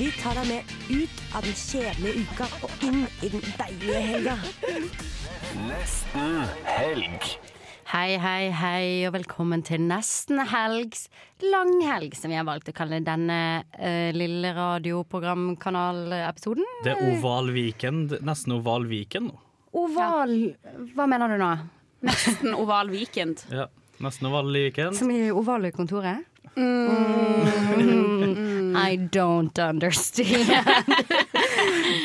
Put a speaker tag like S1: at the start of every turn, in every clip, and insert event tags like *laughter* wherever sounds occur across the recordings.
S1: Vi tar deg med ut av den kjedelige uka og inn i den deilige helga.
S2: Hei, hei, hei, og velkommen til nesten helgs langhelg, som vi har valgt å kalle denne eh, lille radioprogramkanalepisoden.
S3: Det er oval weekend, nesten oval weekend nå.
S2: Oval Hva mener du nå?
S4: En oval weekend.
S3: Ja, nesten oval weekend.
S2: Som i ovale kontoret? Mm. I don't *laughs* understand.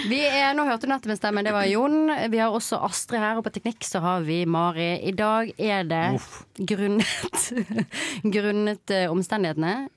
S2: vi er, nå hørte du nettopp en stemme, det var Jon. Vi har også Astrid her, og på teknikk så har vi Mari. I dag er det grunnet, *laughs* grunnet eh, omstendighetene.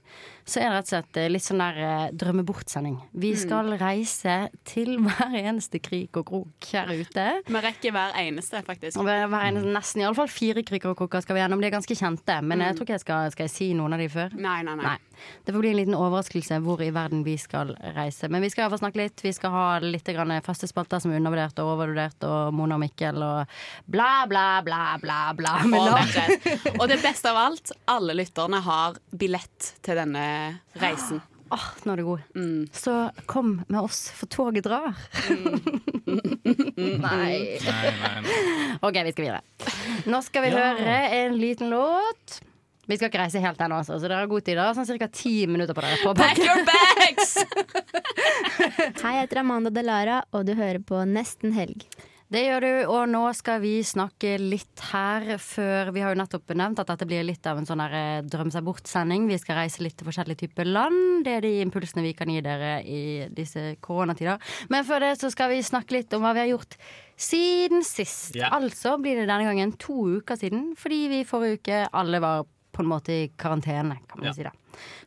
S2: Så er det rett og slett eh, litt sånn der eh, drømmebortsending. Vi skal reise til hver eneste krik og krok her ute.
S4: Vi rekker hver eneste, faktisk.
S2: Og Hver, hver eneste, nesten i alle fall fire krykker og krukker skal vi gjennom. De er ganske kjente, men jeg tror ikke jeg skal, skal jeg si noen av de før.
S4: Nei, nei, nei.
S2: Mm. Nei. Det får bli en liten overraskelse hvor i verden vi skal reise. Men vi skal i hvert fall snakke litt. Vi skal ha litt grann faste spalter som er undervurdert og overvurdert, og Mona og Mikkel og bla, bla, bla, bla, bla. Men
S4: Og,
S2: la
S4: Berit. og det beste av alt, alle lytterne har billett til denne reisen.
S2: Åh, nå er du god. Så kom med oss, for toget drar. Nei.
S3: Nei, nei, nei.
S2: OK, vi skal videre. Nå skal vi høre en liten låt. Vi skal ikke reise helt ennå, altså, så dere har god tid. Dere har sånn ca. ti minutter på dere. På
S4: Pack your bags!
S5: Hei, jeg heter Amanda Delara, og du hører på Nesten helg.
S2: Det gjør du, og nå skal vi snakke litt her før Vi har jo nettopp nevnt at dette blir litt av en sånn her eh, drøm seg bort-sending. Vi skal reise litt til forskjellige typer land. Det er de impulsene vi kan gi dere i disse koronatider. Men før det så skal vi snakke litt om hva vi har gjort siden sist.
S3: Ja.
S2: Altså blir det denne gangen to uker siden, fordi vi forrige uke alle var på en måte i karantene, kan man
S3: Ja.
S2: si det.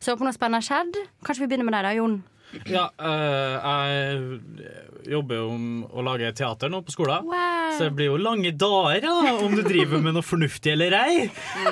S2: Så håper noe spennende har skjedd. Kanskje vi begynner med deg da, Jon.
S3: Ja, eh, jeg jobber jo om å lage teater nå på skolen. Så det blir jo lange dager da, om du driver med noe fornuftig eller ei.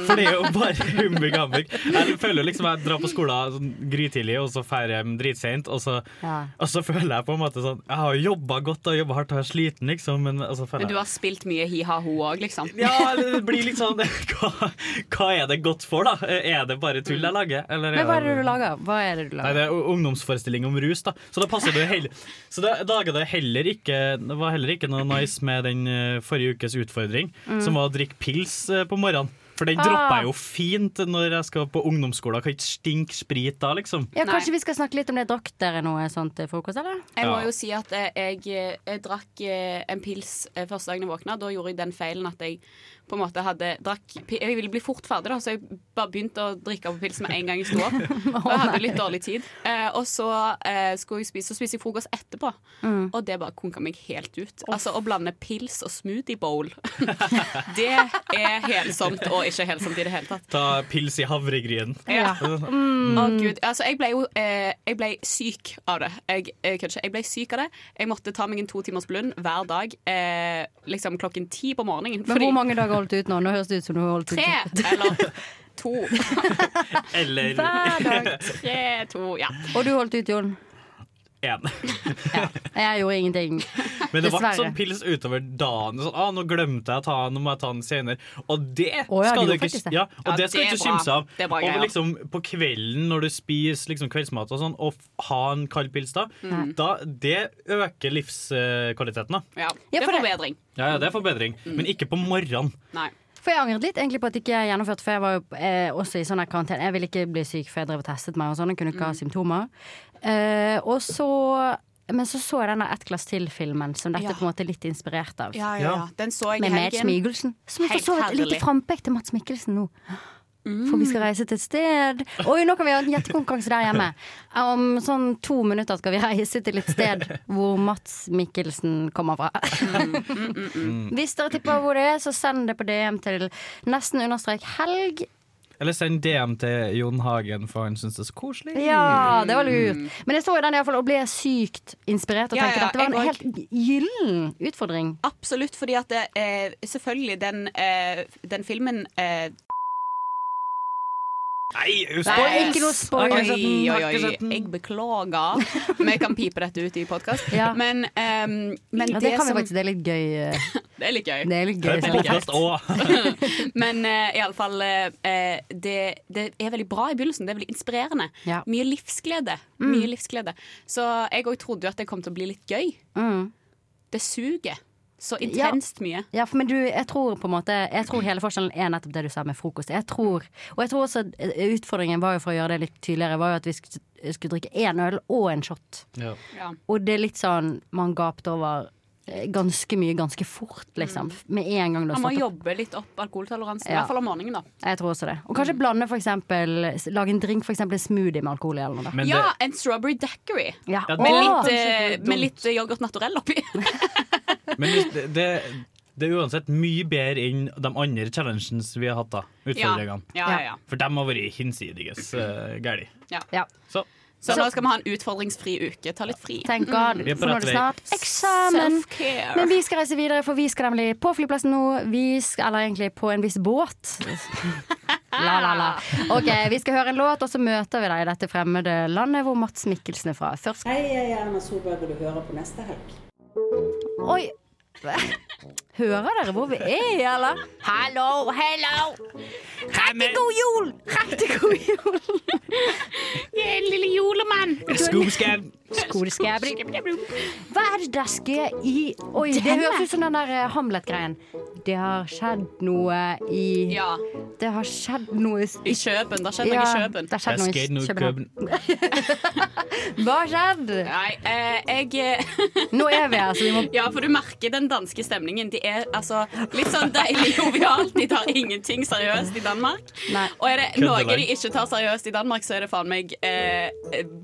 S3: For det er jo bare humbug hambug. Jeg føler jo liksom jeg drar på skolen sånn grytidlig, og så drar jeg hjem dritseint. Og, så-
S2: Ja.
S3: og så føler jeg på en måte sånn Jeg har jo jobba godt og jobba hardt og jeg er sliten, liksom. Men, altså, føler jeg-
S4: Men du har spilt mye hi-ha-ho òg, liksom.
S3: Ja, det blir litt sånn *laughs* hva, hva er det godt for, da? Er det bare tull jeg lager? Eller
S2: Men hva er det du lager? Hva er det du
S3: Nei,
S2: lager?
S3: det er u- ungdomsforestilling om rus, da. Så da passer det heller Så da laga det heller ikke Det var heller ikke noe nice med den eh, forrige ukes utfordring, som var å drikke pils eh, på morgenen. For den dropper jeg jo fint når jeg skal på ungdomsskolen. Kan ikke stinke sprit da, liksom.
S2: Ja,
S4: Nei.
S2: kanskje vi skal snakke litt om det. Drakk dere noe sånt sånn til frokost, eller?
S4: Jeg må
S3: Ja.
S4: jo si at eh, jeg, eh, jeg drakk eh, en pils eh, første dagen jeg våkna. Da gjorde jeg den feilen at jeg på en måte hadde drakk pi- Jeg ville bli fort ferdig, da, så jeg bare begynte å drikke på pils med en gang jeg sto opp. Og jeg hadde litt dårlig tid. Eh, og så eh, skulle jeg spise, så spiste jeg frokost etterpå. Og det bare konka meg helt ut. Altså å blande pils og smoothie bowl, *laughs* det er helsomt og ikke helsomt i det hele tatt.
S3: Ta pils i havregryn.
S4: Ja. Å, Gud. Altså, jeg ble jo eh, jeg ble syk av det. Jeg, jeg kødder ikke. Jeg ble syk av det. Jeg måtte ta meg en to timers blund hver dag eh, liksom klokken ti på morgenen.
S2: Men hvor mange dager holdt du ut nå? Nå høres det ut som du har holdt ut
S4: tre eller *laughs* to.
S3: Eller
S2: hver dag.
S4: Tre, to, ja.
S2: Og du holdt ut, Jon.
S3: én. *laughs*
S2: Ja. Jeg gjorde ingenting.
S3: Men det ble
S2: Dessverre.
S3: sånn pils utover dagen. Sånn, ah, 'Nå glemte jeg å ta den, nå må jeg ta den senere.' Og det
S2: Å ja, det
S3: skal du
S2: gjorde faktisk
S3: ikke,
S2: det.
S3: ja, og
S4: Ja,
S3: det skal
S4: det
S3: du
S4: er
S3: ikke
S4: bra.
S3: kimse av.
S4: Det er bra
S3: og
S4: greier.
S3: liksom på kvelden når du spiser liksom, kveldsmat og sånn, og f- ha en kald pils da, da det øker livskvaliteten. da.
S4: ja.
S2: Ja, for
S4: Det er
S2: det-
S4: forbedring.
S3: Ja, ja, det er forbedring,
S4: Mm.
S3: men ikke på morgenen.
S4: Nei.
S2: For jeg angret litt egentlig på at ikke jeg gjennomførte, for jeg var jo eh, også i sånn her karantene. Jeg ville ikke bli syk, for jeg drev og testet meg og sånn. Jeg kunne ikke ha symptomer. Eh, og så Men så så jeg denne Ett glass til-filmen, som dette
S4: Ja.
S2: på en måte er litt inspirert av.
S4: Ja, ja,
S3: Ja.
S4: ja. Den så jeg i
S2: Med Mads
S4: helgen.
S2: Mikkelsen. Som for
S4: Helt
S2: så vidt
S4: herlig.
S2: lite frampek til Mats Mikkelsen nå.
S4: Mm.
S2: For vi skal reise til et sted Oi, nå kan vi ha en gjettekonkurranse der hjemme. Om sånn to minutter skal vi reise til et sted hvor Mats Mikkelsen kommer fra.
S4: Mm,
S2: Hvis dere tipper hvor det er, så send det på DM til nesten understrek helg.
S3: Eller send DM til Jon Hagen, for han syns det er så koselig.
S2: Ja, det var lurt. Men jeg så jo den i hvert fall og ble sykt inspirert og
S4: Mm. Ja,
S2: tenkte
S4: ja,
S2: dette var en
S4: jeg
S2: helt gyllen utfordring.
S4: Absolutt, fordi at det, eh, selvfølgelig den, eh, den filmen eh,
S3: Nei, spoils!
S4: Nei,
S2: ikke noe spoil.
S3: Har
S4: Oi,
S3: ikke sett den,
S4: oi,
S3: har
S4: oi.
S3: ikke sett
S2: sånn.
S3: den.
S4: Jeg beklager. Vi kan pipe dette ut i podkast.
S2: Ja.
S4: Men, ehm, men
S2: Ja,
S4: det,
S2: det kan vi
S4: som
S2: faktisk. Det er litt gøy. eh,
S4: Det er litt gøy.
S2: Det er litt gøy.
S3: Hør på
S2: sånn.
S3: podcast også.
S4: *laughs* Men uh, iallfall uh, det, det er veldig bra i begynnelsen. Det er veldig inspirerende.
S2: Ja. Mm.
S4: Mye livsglede. Mye livsglede. Så jeg òg trodde jo at det kom til å bli litt gøy.
S2: Mm.
S4: Det suger så intenst mye.
S2: Ja, for men du, jeg tror på en måte Jeg tror hele forskjellen er nettopp det du sa med frokost. Jeg tror, og jeg tror også at, eh, utfordringen var jo for å gjøre det litt tydeligere, var jo at vi skulle, skulle drikke én øl og en shot.
S3: Ja.
S4: Ja.
S2: Og det er litt sånn man gapte over eh, ganske mye ganske fort, liksom. Med en gang du har
S4: Mm. Man
S2: stått
S4: må
S2: opp.
S4: jobbe litt opp alkoholtoleransen. I
S2: Sånn. Ja.
S4: hvert fall om morgenen, da.
S2: Jeg tror også det. Og
S4: Mm.
S2: kanskje blande for eksempel s- Lage en drink, for eksempel en smoothie med alkohol i eller noe. da.
S3: Men det,
S4: Ja, en strawberry daiquiri.
S2: Ja.
S3: Ja, det-
S4: Med
S2: Åh!
S4: litt,
S3: Kanskje
S4: eh,
S3: ikke dumt.
S4: med litt yoghurt naturell oppi.
S3: men hvis det, det, det er uansett mye bedre enn de andre challenges vi har hatt. da
S4: *laughs* Ja, ja,
S3: Utfordringene.
S4: ja, ja.
S3: For dem har vært hinsides uh, gærne.
S2: ja.
S3: Så
S4: Så nå skal vi ha en utfordringsfri uke. Ta litt fri.
S2: Thank God.
S3: Vi er på
S2: For nå er det
S3: rett vei.
S2: snart eksamen.
S4: Self-care.
S2: Men vi skal reise videre, for vi skal nemlig på flyplassen nå. Vi skal, eller egentlig på en viss båt. La, la, la. Ok, Vi skal høre en låt, og så møter vi deg i dette fremmede landet hvor Mats Mikkelsen er fra. Først
S6: Hei, jeg er Erna Solberg, vil du høre på neste helg?
S2: Oi! *laughs* Hører dere hvor vi er, eller? Hallo, hello! Riktig god jul! Riktig god jul!
S4: Jeg er en lille julemann.
S3: Scoobscab!
S2: Skoleskæbri. Hva er det der skjer i Oi, det høres ut som den der eh, Hamlet-greien. Det har skjedd noe i
S4: Ja,
S2: Det har skjedd noe i
S4: i Kjøben. Det skjedde noe i Kjøben.
S2: Det har skjedd noe i København.
S3: Køben.
S2: Hva har skjedd?
S4: Nei, eh, jeg
S2: Nå er vi her, så vi må
S4: *laughs* Ja, for du merker den danske stemningen. De er altså litt sånn deilig jovialt. De tar ingenting seriøst i Danmark.
S2: Nei.
S4: Og er det noe
S3: Køddelag.
S4: de ikke tar seriøst i Danmark, så er det faen meg eh,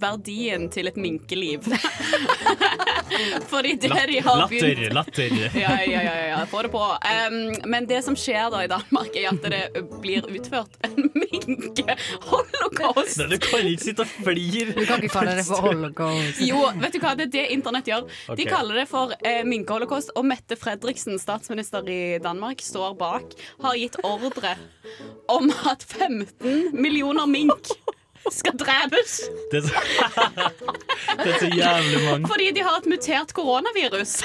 S4: verdien til et minkeliv. *laughs* Fordi det de har
S3: Latter,
S4: begynt
S3: latter.
S4: ja, ja, ja, ja, få det på. Em, men det som skjer da i Danmark, er at det blir utført en *laughs* minke-holocaust.
S3: Nei, Du kan ikke sitte og flire.
S2: Du kan ikke kalle det for
S4: *laughs*
S2: holocaust.
S4: Jo, vet du hva, det er det internett gjør. De
S3: Ok.
S4: kaller det for eh, minkeholocaust. Og Mette Fredriksen, statsminister i Danmark, står bak, har gitt ordre om at 15 millioner mink skal drepes
S3: Det er så, det er så jævlig mange.
S4: fordi de har et mutert koronavirus.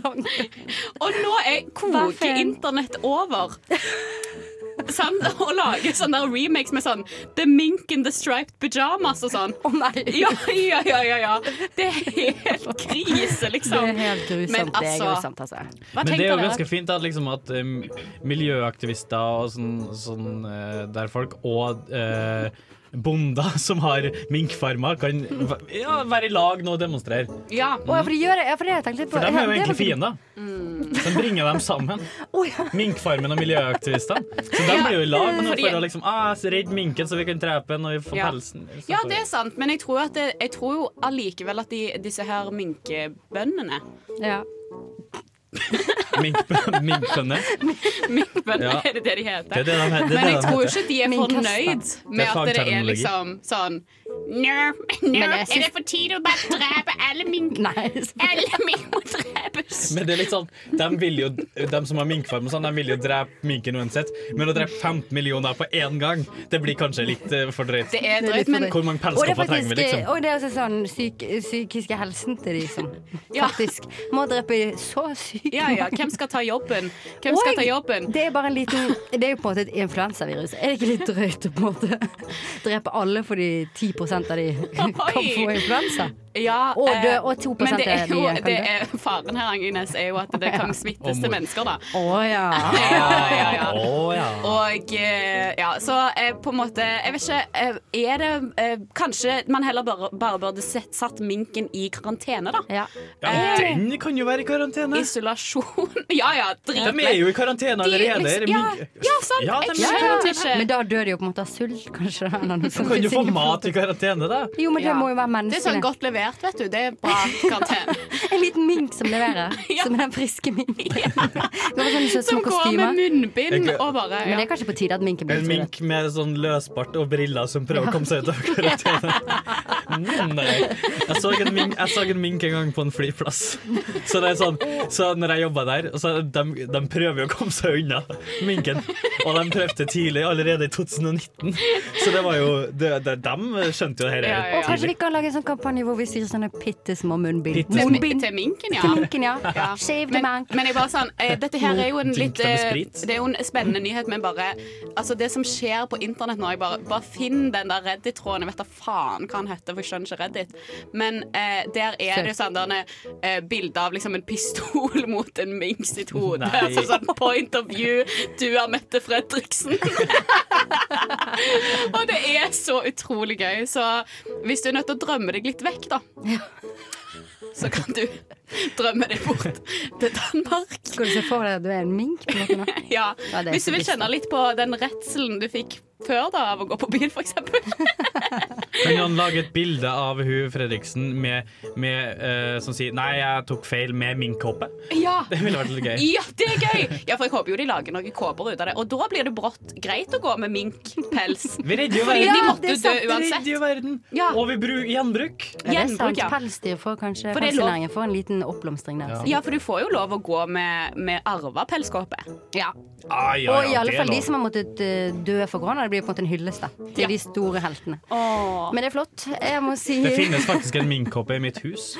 S4: Og nå er koker internett over. Sånn, og lage sånne der remakes med sånn The Mink in the Striped Pyjamas og sånn.
S2: Å nei.
S4: Ja, ja, ja, ja, ja. Det er helt krise,
S2: Det
S4: liksom.
S2: er helt
S4: Men
S2: grusomt. Det er
S4: altså-
S2: grusomt, altså.
S4: Hva
S3: Men det er
S4: tenker
S3: jo ganske
S4: dere?
S3: fint at, liksom, at um, miljøaktivister og sånn, sånn eh, der folk, og eh, bonder *laughs* som har minkfarmer, kan v- ja, være i lag nå og demonstrere.
S4: Ja.
S3: Mm,
S2: Å, ja, for de gjør det. Ja, for det har jeg tenkt litt på.
S3: For de er jo
S2: Det
S3: egentlig
S2: noe-
S3: fiender.
S4: Mm.
S3: Så bringer dem
S4: *laughs*
S3: sammen.
S2: Å, ja.
S3: Minkfarmen og miljøaktivistene. Så de blir jo i lag nå
S4: fordi-
S3: for å liksom, ah, redde minken, så vi kan drepe den og vi får
S4: Ja.
S3: pelsen. Så
S4: ja,
S3: får-
S4: det er sant, men jeg tror, at det, jeg tror jo allikevel at de, disse her minkebøndene *laughs*
S2: Ja.
S3: Mink, *laughs*
S4: *laughs*
S3: minkbønder.
S4: Minkbønder,
S3: Ja.
S4: er det det de heter?
S3: Det er det de he- det er det
S4: men jeg
S3: de
S4: tror
S3: heter.
S4: ikke de er
S2: Minkkastene.
S4: fornøyd med
S3: Det er
S4: at det er
S3: fagterminologi.
S4: liksom sånn Nå, nå
S2: Men
S4: er
S2: jeg syns-
S4: det for tide å bare drepe alle mink.
S2: Nei. *laughs*
S4: Alle mink må drepes.
S3: Men det er litt sånn, de, vil jo, de som har minkfarm, og sånn, de vil jo drepe minken uansett. Men å drepe 15 millioner på én gang, det blir kanskje litt eh, for drøyt.
S4: Det er
S2: Det er litt
S4: drøyt, men
S2: for
S3: Hvor mange
S2: Og det er
S3: pelskopper trenger
S2: faktisk
S3: vi, liksom?
S2: og det er også sånn psyk, psykiske helsen til de som
S4: *laughs* Ja.
S2: faktisk må drepe så sykt
S4: ja, ja, hvem skal ta jobben? Hvem skal
S2: Og
S4: ta jobben?
S2: Det er bare en liten Det er jo på en måte et influensavirus. Er det ikke litt drøyt å på en måte drepe alle fordi 10 av
S4: *laughs*
S2: de kan få influensa?
S4: Ja,
S2: Og
S4: eh,
S2: dø, og 2
S4: men det
S2: er
S4: er
S2: de
S4: jo,
S2: kan
S4: det
S2: dø.
S4: er, faren her, Agnes, er jo at det
S2: Ja.
S4: kan smittes til
S3: mor. Ah.
S4: mennesker, da.
S2: Å ja.
S4: Ja, ja, ja.
S3: Å, ja.
S4: Og eh, ja, så eh, på en måte Jeg vet ikke, eh, er det eh, Kanskje man heller bare, bare burde sett, satt minken i karantene, da? Eh,
S2: ja.
S3: ja, den kan jo være i karantene.
S4: Isolasjon *laughs* Ja ja,
S3: De
S4: drit
S3: er jo i karantene allerede. er det
S4: liksom- ja,
S3: mink-
S4: ja, sant.
S3: Ja, de
S4: jeg
S2: Ja,
S4: skjønner
S2: ja.
S4: ikke.
S2: Men da dør de jo på en måte av sult, kanskje. Eller noe sånt.
S3: Kan du få mat i karantene, da?
S2: Jo, men det
S4: Ja.
S2: må jo være
S4: Det er sånn
S2: menneskelig. *laughs*
S4: godt levert, vet du. Det er bra karantene.
S2: En liten mink som leverer.
S4: Ja.
S2: Som er den friske *laughs* minken. Går med sånne søte små
S4: Som
S2: sånn
S4: går med
S2: kostymer.
S4: munnbind
S3: Jeg-
S4: og bare
S2: Men det er kanskje på tide at minken blir
S3: En
S2: utvidet.
S3: mink med sånn løsbart og briller som prøver å komme seg ut av
S4: *laughs*
S3: karantene. Mm, Nei. Jeg så, en mink, jeg så en mink en gang på en flyplass. Så, det er sånn, så når jeg jobba der, så de, de prøver jo å komme seg unna minken. Og de prøvde tidlig, allerede i 2019. Så det var jo det, det, De skjønte jo dette
S4: Ja, ja, Altså, ja.
S2: Og kanskje
S3: tidlig.
S2: vi kan lage en sånn kampanje hvor vi syr sånne bitte små munnbind.
S3: Bittesmå.
S4: Til, til minken, ja.
S2: Til minken, ja.
S4: Ja.
S2: Shave the
S4: Men,
S2: man.
S4: men jeg bare sånn, eh, dette her er jo en
S3: Drink
S4: litt
S3: dem med
S4: eh,
S3: sprit.
S4: Det er jo en spennende nyhet, men bare Altså, det som skjer på internett nå, jeg bare, bare finn den der Reddit-tråden. Jeg vet da faen hva han heter, for jeg skjønner ikke Reddit. Men eh, der er det sånn der, eh, bilder av liksom en pistol *laughs* mot en mink sitt hode.
S3: Nei.
S4: Altså sånn point of view. Du er Mette Fredriksen. *laughs* Og det er så utrolig gøy. Så hvis du er nødt til å drømme deg litt vekk, da så kan du *laughs* drømme deg bort til Danmark.
S2: Skal du se for deg at du er en mink? På en måte, nå?
S4: *laughs* Ja,
S2: Ja, det er
S4: Hvis du vil
S2: trist, da.
S4: kjenne litt på den redselen du fikk før da av å gå på bil, f.eks.
S2: *laughs*
S3: Kan noen lage et bilde av hun Fredriksen med, med, eh, som sier 'nei, jeg tok feil med minkhoppet'?
S4: Ja.
S3: Det ville vært litt gøy.
S4: ja, det er gøy! Ja, For jeg håper jo de lager noen kåper ut av det. Og da blir det brått greit å gå med minkpels.
S3: Vi redder jo
S4: Fordi de
S3: verden.
S4: måtte jo dø uansett.
S3: redder jo verden.
S4: Ja.
S3: Og vi bru- gjenbruk.
S2: Ja, det *laughs* er sant.
S4: Gjenbruk, ja.
S2: Pelsdyr får kanskje
S4: For det er lov.
S2: Pelsdyrnæringen får en liten oppblomstring der.
S4: Ja, for du får jo lov å gå med, med arva pelskåpe.
S2: Ja.
S3: Ah, ja,
S2: Og i
S3: ja,
S2: alle
S3: det er
S2: fall de
S3: lov.
S2: som har måttet eh, dø for korona. Det blir på en måte en hyllest da, til de store heltene.
S4: Åh.
S2: Men det er flott. Jeg må si
S3: Det finnes faktisk en minkhoppe i mitt hus.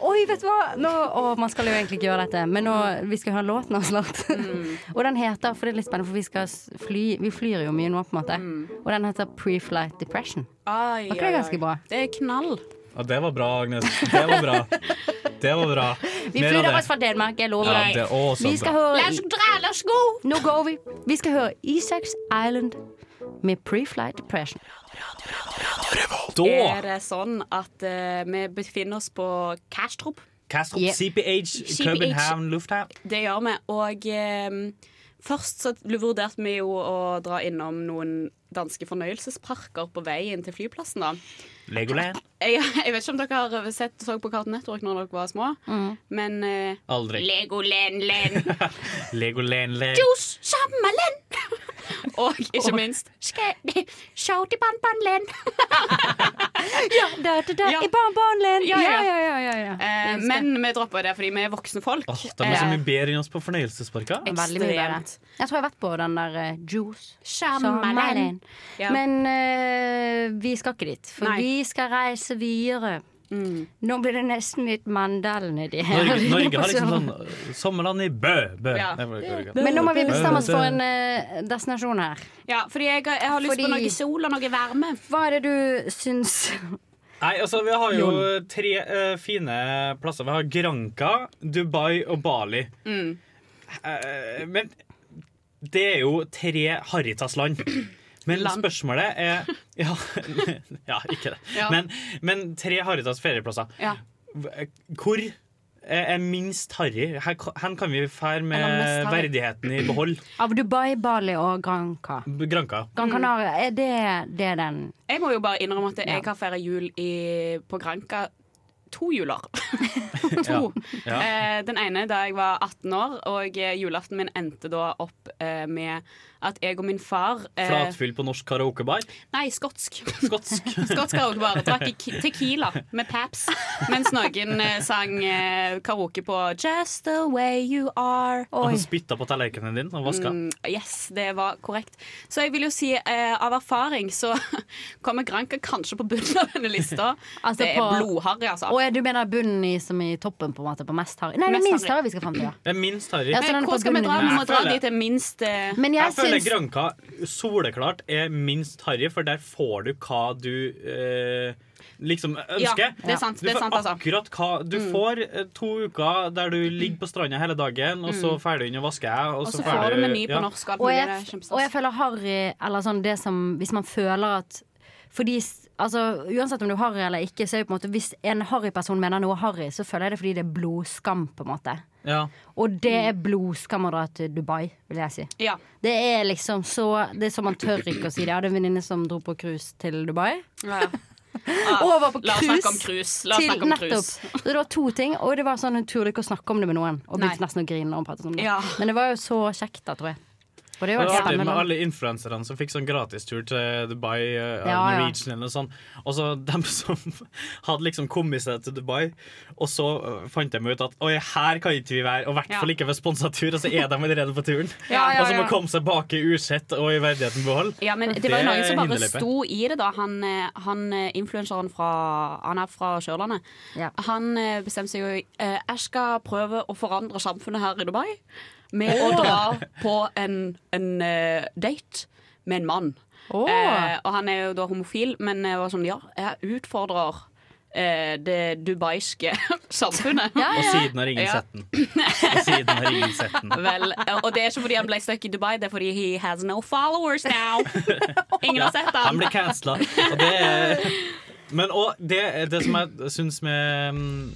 S2: Oi, vet du hva! Nå, å, man skal jo egentlig ikke gjøre dette, men nå, vi skal høre låten hans snart.
S4: Mm.
S2: og den heter, for det er litt spennende, for vi, skal s- fly, vi flyr jo mye nå, på en måte.
S4: Mm.
S2: Og den heter Pre-Flight Depression.
S4: Ai,
S2: Var ikke det
S4: ai, ai.
S2: ganske bra?
S4: Det er knall.
S3: Ja, det var bra, Agnes. Det var bra. Det var bra.
S2: Vi
S3: Mer av
S2: flyr
S3: det.
S2: oss fra Danmark, jeg lover
S3: Ja,
S2: deg.
S3: det er også
S2: vi skal
S3: bra.
S2: høre
S4: Let's dra, let's go!
S2: Nå går vi. Vi skal høre Isaac's Island med Pre-Flight Depression.
S4: Er
S3: Da
S4: det sånn at eh, vi befinner oss på Kastrup?
S3: Kastrup
S2: Yeah.
S3: CPH,
S4: CPH.
S3: København lufthavn.
S4: Det gjør vi. Og eh, først så vurderte vi jo å dra innom noen danske fornøyelsesparker på vei inn til flyplassen, da.
S3: Legoland.
S4: Jeg, jeg vet ikke om dere har sett så på Cartoon Network når dere var små, men eh,
S3: Aldri.
S4: Legoland-land,
S3: *laughs* Legoland, Len.
S4: Jus samme land! Og ikke minst
S2: *laughs*
S4: Shouty-ban-ban-land.
S2: Da, da, da,
S4: Ja.
S2: I barnbarnland!
S4: Ja, ja.
S2: ja, ja, ja.
S4: Eh, men vi dropper det fordi vi er voksne folk. Eh,
S3: Åh, de er liksom så mye bedre enn oss på fornøyelsesparker.
S2: Veldig mye bedre.
S4: Ekstremt.
S2: Jeg tror jeg har vært på den der eh, Juice.
S4: Shyamalan. Ja.
S2: Men eh, vi skal ikke dit, for
S4: Nei. Mm.
S2: vi skal reise videre. Nå blir det nesten litt mandel nedi her.
S3: Norge, Norge
S2: *laughs*
S3: har liksom
S2: På
S3: sånn Sommerland i Bø. Bø.
S4: Ja.
S3: Nei, hvor- hvor- hvor-
S2: Men nå må vi bestemme oss for en eh, destinasjon her.
S4: Ja, fordi jeg, jeg har lyst
S2: Fordi-
S4: på noe sol og noe varme.
S2: Hva er det du syns
S3: Nei, altså Vi har jo tre eh, fine plasser. Vi har Granca, Dubai og Bali.
S4: Mm.
S3: Eh, men det er jo tre Haritas-land. Men
S4: Land.
S3: spørsmålet
S4: *laughs*
S3: er Ja, *laughs* ja ikke det.
S4: Ja.
S3: Men, men tre Haritas ferieplasser.
S4: Ja.
S3: Hvor er minst harry? Her, her kan vi fære
S4: Eller mest
S3: med
S4: harry.
S3: verdigheten i behold.
S2: av Dubai, Bali og Granca?
S3: Granca.
S4: Mm.
S2: Gran Canaria, er det, det er den
S4: Jeg må jo bare innrømme at jeg
S2: Ja.
S4: har feira jul i, på Granka to
S3: *laughs*
S4: juler.
S3: Ja. Ja.
S4: Eh, den ene da jeg var 18 år, og eh, julaften min endte da opp eh, med at jeg og min far eh,
S3: Flatfyll på norsk karaokebar.
S4: Nei, skotsk.
S3: *laughs* Skotsk.
S4: *laughs* Skotsk karaokebar. Drakk ki- tequila med Paps, mens noen eh, sang eh, karaoke på Just the way you are.
S3: Han spytta på tallerkenen din og vaska.
S4: Mm, Yes, det var korrekt. Så jeg vil jo si eh, av erfaring så *laughs* kommer Granka kanskje på bunnen av denne lista.
S2: *laughs* Altså,
S4: det er
S2: på-
S4: blodharry, altså.
S2: Å, ja, du mener bunnen i, som i toppen, på en måte? På mest harry? Nei, det
S4: Mest
S2: er minst
S4: harry.
S2: harry vi skal fram til. ja.
S3: Det er minst harry.
S2: Ja, så den er
S4: Hvor
S2: på
S4: skal vi dra?
S2: bunnen.
S4: Vi må
S3: Jeg
S4: dra
S3: føler-
S4: dit det er minst eh,
S2: Men
S3: Jeg
S2: jeg
S3: føler
S2: syns
S3: Granka soleklart er minst harry, for der får du hva du eh, liksom ønsker.
S4: Ja, det er sant,
S3: Du
S4: det er
S3: får
S4: sant, altså. Mm.
S3: akkurat hva Du får eh, to uker der du ligger på stranda hele dagen, og så ferdig inn og vasker jeg, og
S4: Og
S3: så
S4: så
S3: ferdig-
S4: får du meny på
S3: ja.
S4: norsk. Og alt
S2: og
S4: mulig,
S2: jeg,
S4: det er kjempestas.
S2: og jeg føler harry, eller sånn det som Hvis man føler at fordi, s- altså, Uansett om du er harry eller ikke, så er det på en måte hvis en harryperson mener noe harry, så føler jeg det fordi det er blodskam, på en måte.
S3: Ja.
S2: Og det
S4: Mm.
S2: er blodskam å dra til Dubai, vil jeg si.
S4: Ja.
S2: Det er *laughs* liksom så Det er så man tør ikke å si det. Jeg hadde en venninne som dro på cruise til Dubai.
S4: Ja.
S2: Over på
S4: La oss
S2: cruise
S4: snakke om cruise. La oss
S2: til
S4: snakke om
S2: nettopp.
S4: cruise.
S2: Så det var to ting, og det var sånn hun turte ikke å snakke om det med noen. Og
S4: Nei.
S2: begynte nesten å grine når hun pratet om det.
S4: Ja.
S2: Men det var jo så kjekt, da, tror jeg. Og det var
S3: Det var artig med
S2: spennende.
S3: alle influenserne som fikk sånn gratistur til Dubai. eh,
S2: Ja,
S3: av
S2: ja.
S3: Norwegian eller noe sånt. Og så dem *laughs* som hadde liksom kommet seg til Dubai, og så eh, fant de ut at oi, her kan ikke vi være, og i hvert
S4: Ja.
S3: fall ikke ved sponsa tur, og så er de allerede på turen.
S4: *laughs*
S2: Ja, ja,
S3: Og så må
S2: ja.
S3: komme seg baki usett og i verdigheten behold.
S4: Ja, men det var jo
S3: Det
S4: noen som
S3: er
S4: bare
S3: hinderløype.
S4: sto i det, da. Han, eh, han eh, influenseren fra Han er fra Sørlandet.
S2: Ja.
S4: Han eh, bestemte seg jo eh, Jeg skal prøve å forandre samfunnet her i Dubai med å dra på en, en eh, date med en mann.
S2: Åh.
S4: Eh, og han er jo da homofil, men jeg var sånn Ja, jeg utfordrer eh, det dubaiske *laughs* samfunnet.
S2: Ja,
S3: Og
S2: ja.
S3: siden har ingen
S4: Ja.
S3: sett den. Og siden har ingen sett
S4: *laughs*
S3: den.
S4: Vel, eh, og det er ikke fordi han ble stuck i Dubai, det er fordi he has no
S2: *laughs*
S4: followers now. Ingen har sett
S3: Han
S4: ham.
S3: ble cancela. Og det Men og det, det som jeg syns med mm,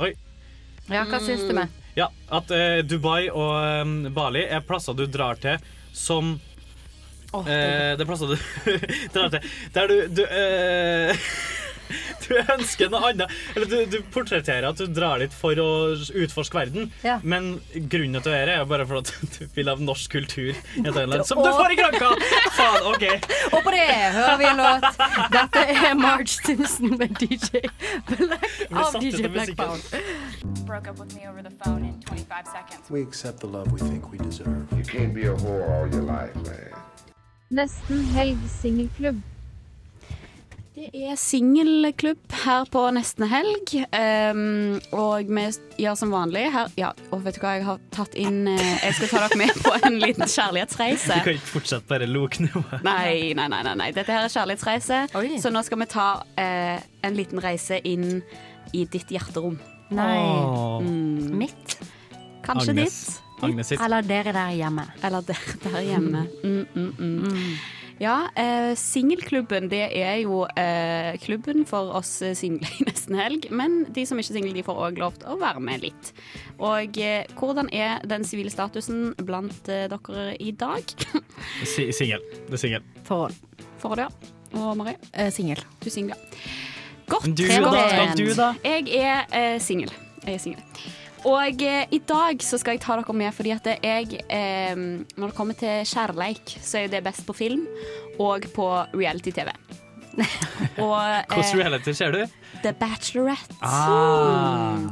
S3: Oi.
S2: ja, hva syns du med?
S3: Ja, at eh, Dubai og eh, Bali er plasser du drar til som eh, Det er plasser du *laughs* drar til der du, du eh, *laughs* Du ønsker noe annet. Eller du, du portretterer at du drar dit for å utforske verden,
S2: Ja.
S3: men grunnen til å gjøre det er jo bare for at *laughs* du vil ha norsk kultur i et annet land. Som du får i Granka! Faen, OK.
S2: Og på det hører vi en låt. Dette er Marge Simpson med DJ Black
S3: blir
S2: av
S3: satt ut
S2: DJ
S3: av
S2: Black
S3: musikken.
S2: Pound.
S7: Nesten helg singelklubb.
S4: Det er singelklubb her på nesten helg. Um, og vi gjør som vanlig her. Ja, og vet du hva, jeg har tatt inn eh, Jeg skal ta dere med på en liten kjærlighetsreise.
S3: Du kan ikke fortsette bare loknivået.
S4: Nei, nei, nei, nei, nei. Dette her er kjærlighetsreise.
S2: Oi.
S4: Så nå skal vi ta eh, en liten reise inn i ditt hjerterom.
S2: Nei.
S3: Åh,
S2: Mitt.
S4: Kanskje
S3: Agnes.
S4: ditt.
S3: Agnes sitt.
S2: Eller dere der hjemme.
S4: Eller der, der hjemme. Mm, mm, mm. Ja, eh, singelklubben det er jo eh, klubben for oss eh, single i nesten helg. Men de som ikke er single, de får òg lov til å være med litt. Og eh, hvordan er den sivile statusen blant eh, dere i dag?
S3: Si- Singel. Det er singel.
S2: Forhold.
S4: Forhånd, ja. Og Mari,
S2: Singel.
S4: du er singel. ja. Godt.
S3: Du
S2: Tre
S3: da?
S2: godt.
S3: Skal du da?
S4: Jeg er eh, singel. Jeg er singel. Og eh, i dag så skal jeg ta dere med fordi at jeg eh, Når det kommer til kjærleik, så er jo det best på film og på
S3: *laughs*
S4: reality-TV. og
S3: Hvilken
S4: eh,
S3: reality ser du?
S4: The Bachelorette.
S3: Ah.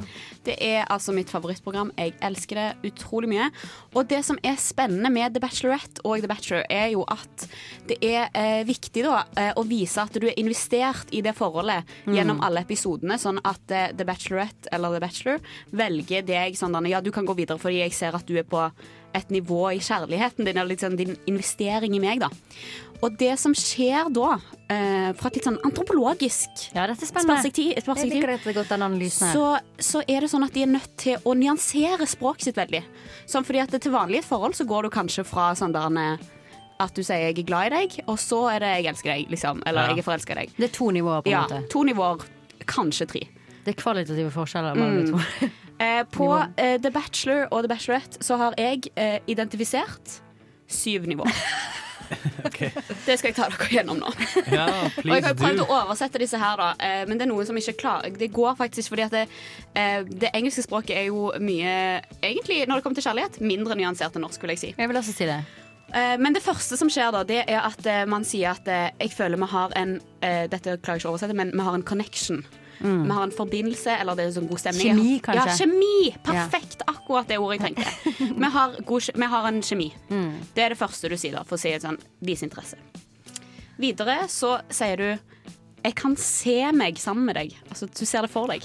S4: Det er altså mitt favorittprogram. Jeg elsker det utrolig mye. Og det som er spennende med The Bachelorette og The Bachelor, er jo at det er eh, viktig da, eh, å vise at du er investert i det forholdet gjennom alle episodene, sånn at eh, The Bachelorette eller The Bachelor velger deg sånn Danne, ja, du kan gå videre fordi jeg ser at du er på et nivå i kjærligheten din, eller litt sånn din investering i meg, da. Og det som skjer da, eh, fra et litt sånn antropologisk
S2: Ja, dette er spennende.
S4: perspektiv, et
S2: Jeg
S4: perspektiv
S2: liker dette godt, den analysen her.
S4: så, så er det sånn at de er nødt til å nyansere språket sitt veldig. Sånn fordi at til vanlig i et forhold så går du kanskje fra sånn der en, eh, at du sier 'jeg er glad i deg', og så er det 'jeg elsker deg', liksom. Eller
S3: Ja.
S4: 'jeg er forelska i deg'.
S2: Det er to nivåer, på en
S4: Ja,
S2: måte.
S4: to nivåer. Kanskje tre.
S2: Det er kvalitative forskjeller mellom de to.
S4: Eh, på eh, The Bachelor og The Bachelorette så har jeg eh, identifisert
S2: *laughs*
S4: syv nivåer.
S3: Ok.
S4: Det skal jeg ta dere gjennom nå.
S3: Ja,
S4: Og jeg
S3: please
S4: har jo prøvd
S3: do.
S4: å oversette disse her, da, eh, men det er noen som ikke klarer Det går faktisk fordi at det, eh, det engelske språket er jo mye Egentlig, når det kommer til kjærlighet, mindre nyansert enn norsk, vil jeg si.
S2: Jeg vil også si det.
S4: Eh, Men det første som skjer, da, det er at eh, man sier at eh, jeg føler vi har en eh, Dette klarer jeg ikke å oversette, men vi har en connection. Vi har en forbindelse, eller det er sånn god stemning.
S2: Mm. Kjemi, kanskje?
S4: Ja, kjemi! Perfekt! Akkurat det ordet jeg tenkte.
S2: *laughs*
S4: Vi har, god, kje- vi har en kjemi.
S2: Mm.
S4: Det er det første du sier, da, for å si et sånn Vis interesse. Videre så sier du jeg kan se meg sammen med deg. Altså, du ser det for deg.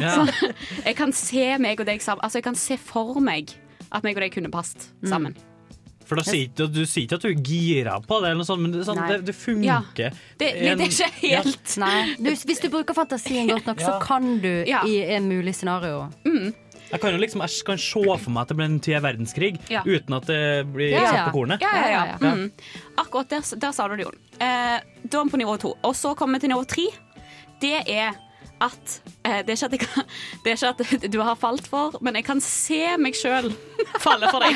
S3: Ja.
S4: *laughs* Jeg kan se meg og deg sammen. Altså, jeg kan se for meg at meg og deg kunne passet
S2: Mm.
S4: sammen.
S3: For da sier ikke, du sier ikke at du er gira på det, eller noe sånt, men det, er sånn,
S2: Nei.
S3: det, det funker.
S4: Det, det er ikke helt
S2: Nei. Du, hvis du bruker fantasien godt nok, så
S3: Ja.
S2: kan du
S4: Ja.
S2: i en mulig scenario.
S3: Jeg kan jo liksom, jeg kan se for meg at det blir en tredje verdenskrig
S4: Ja.
S3: uten at det blir
S2: Ja,
S3: satt
S2: ja.
S3: på kornet.
S4: Ja, ja, ja.
S2: Ja,
S3: ja.
S4: Mm. Akkurat der, der sa du det, Jon. Eh, da er vi på nivå to. Og så kommer vi til nivå tre. Det er at eh, det, er ikke at jeg kan, *laughs* det er ikke at *laughs* du har falt for, men jeg kan se meg sjøl *laughs* falle for deg.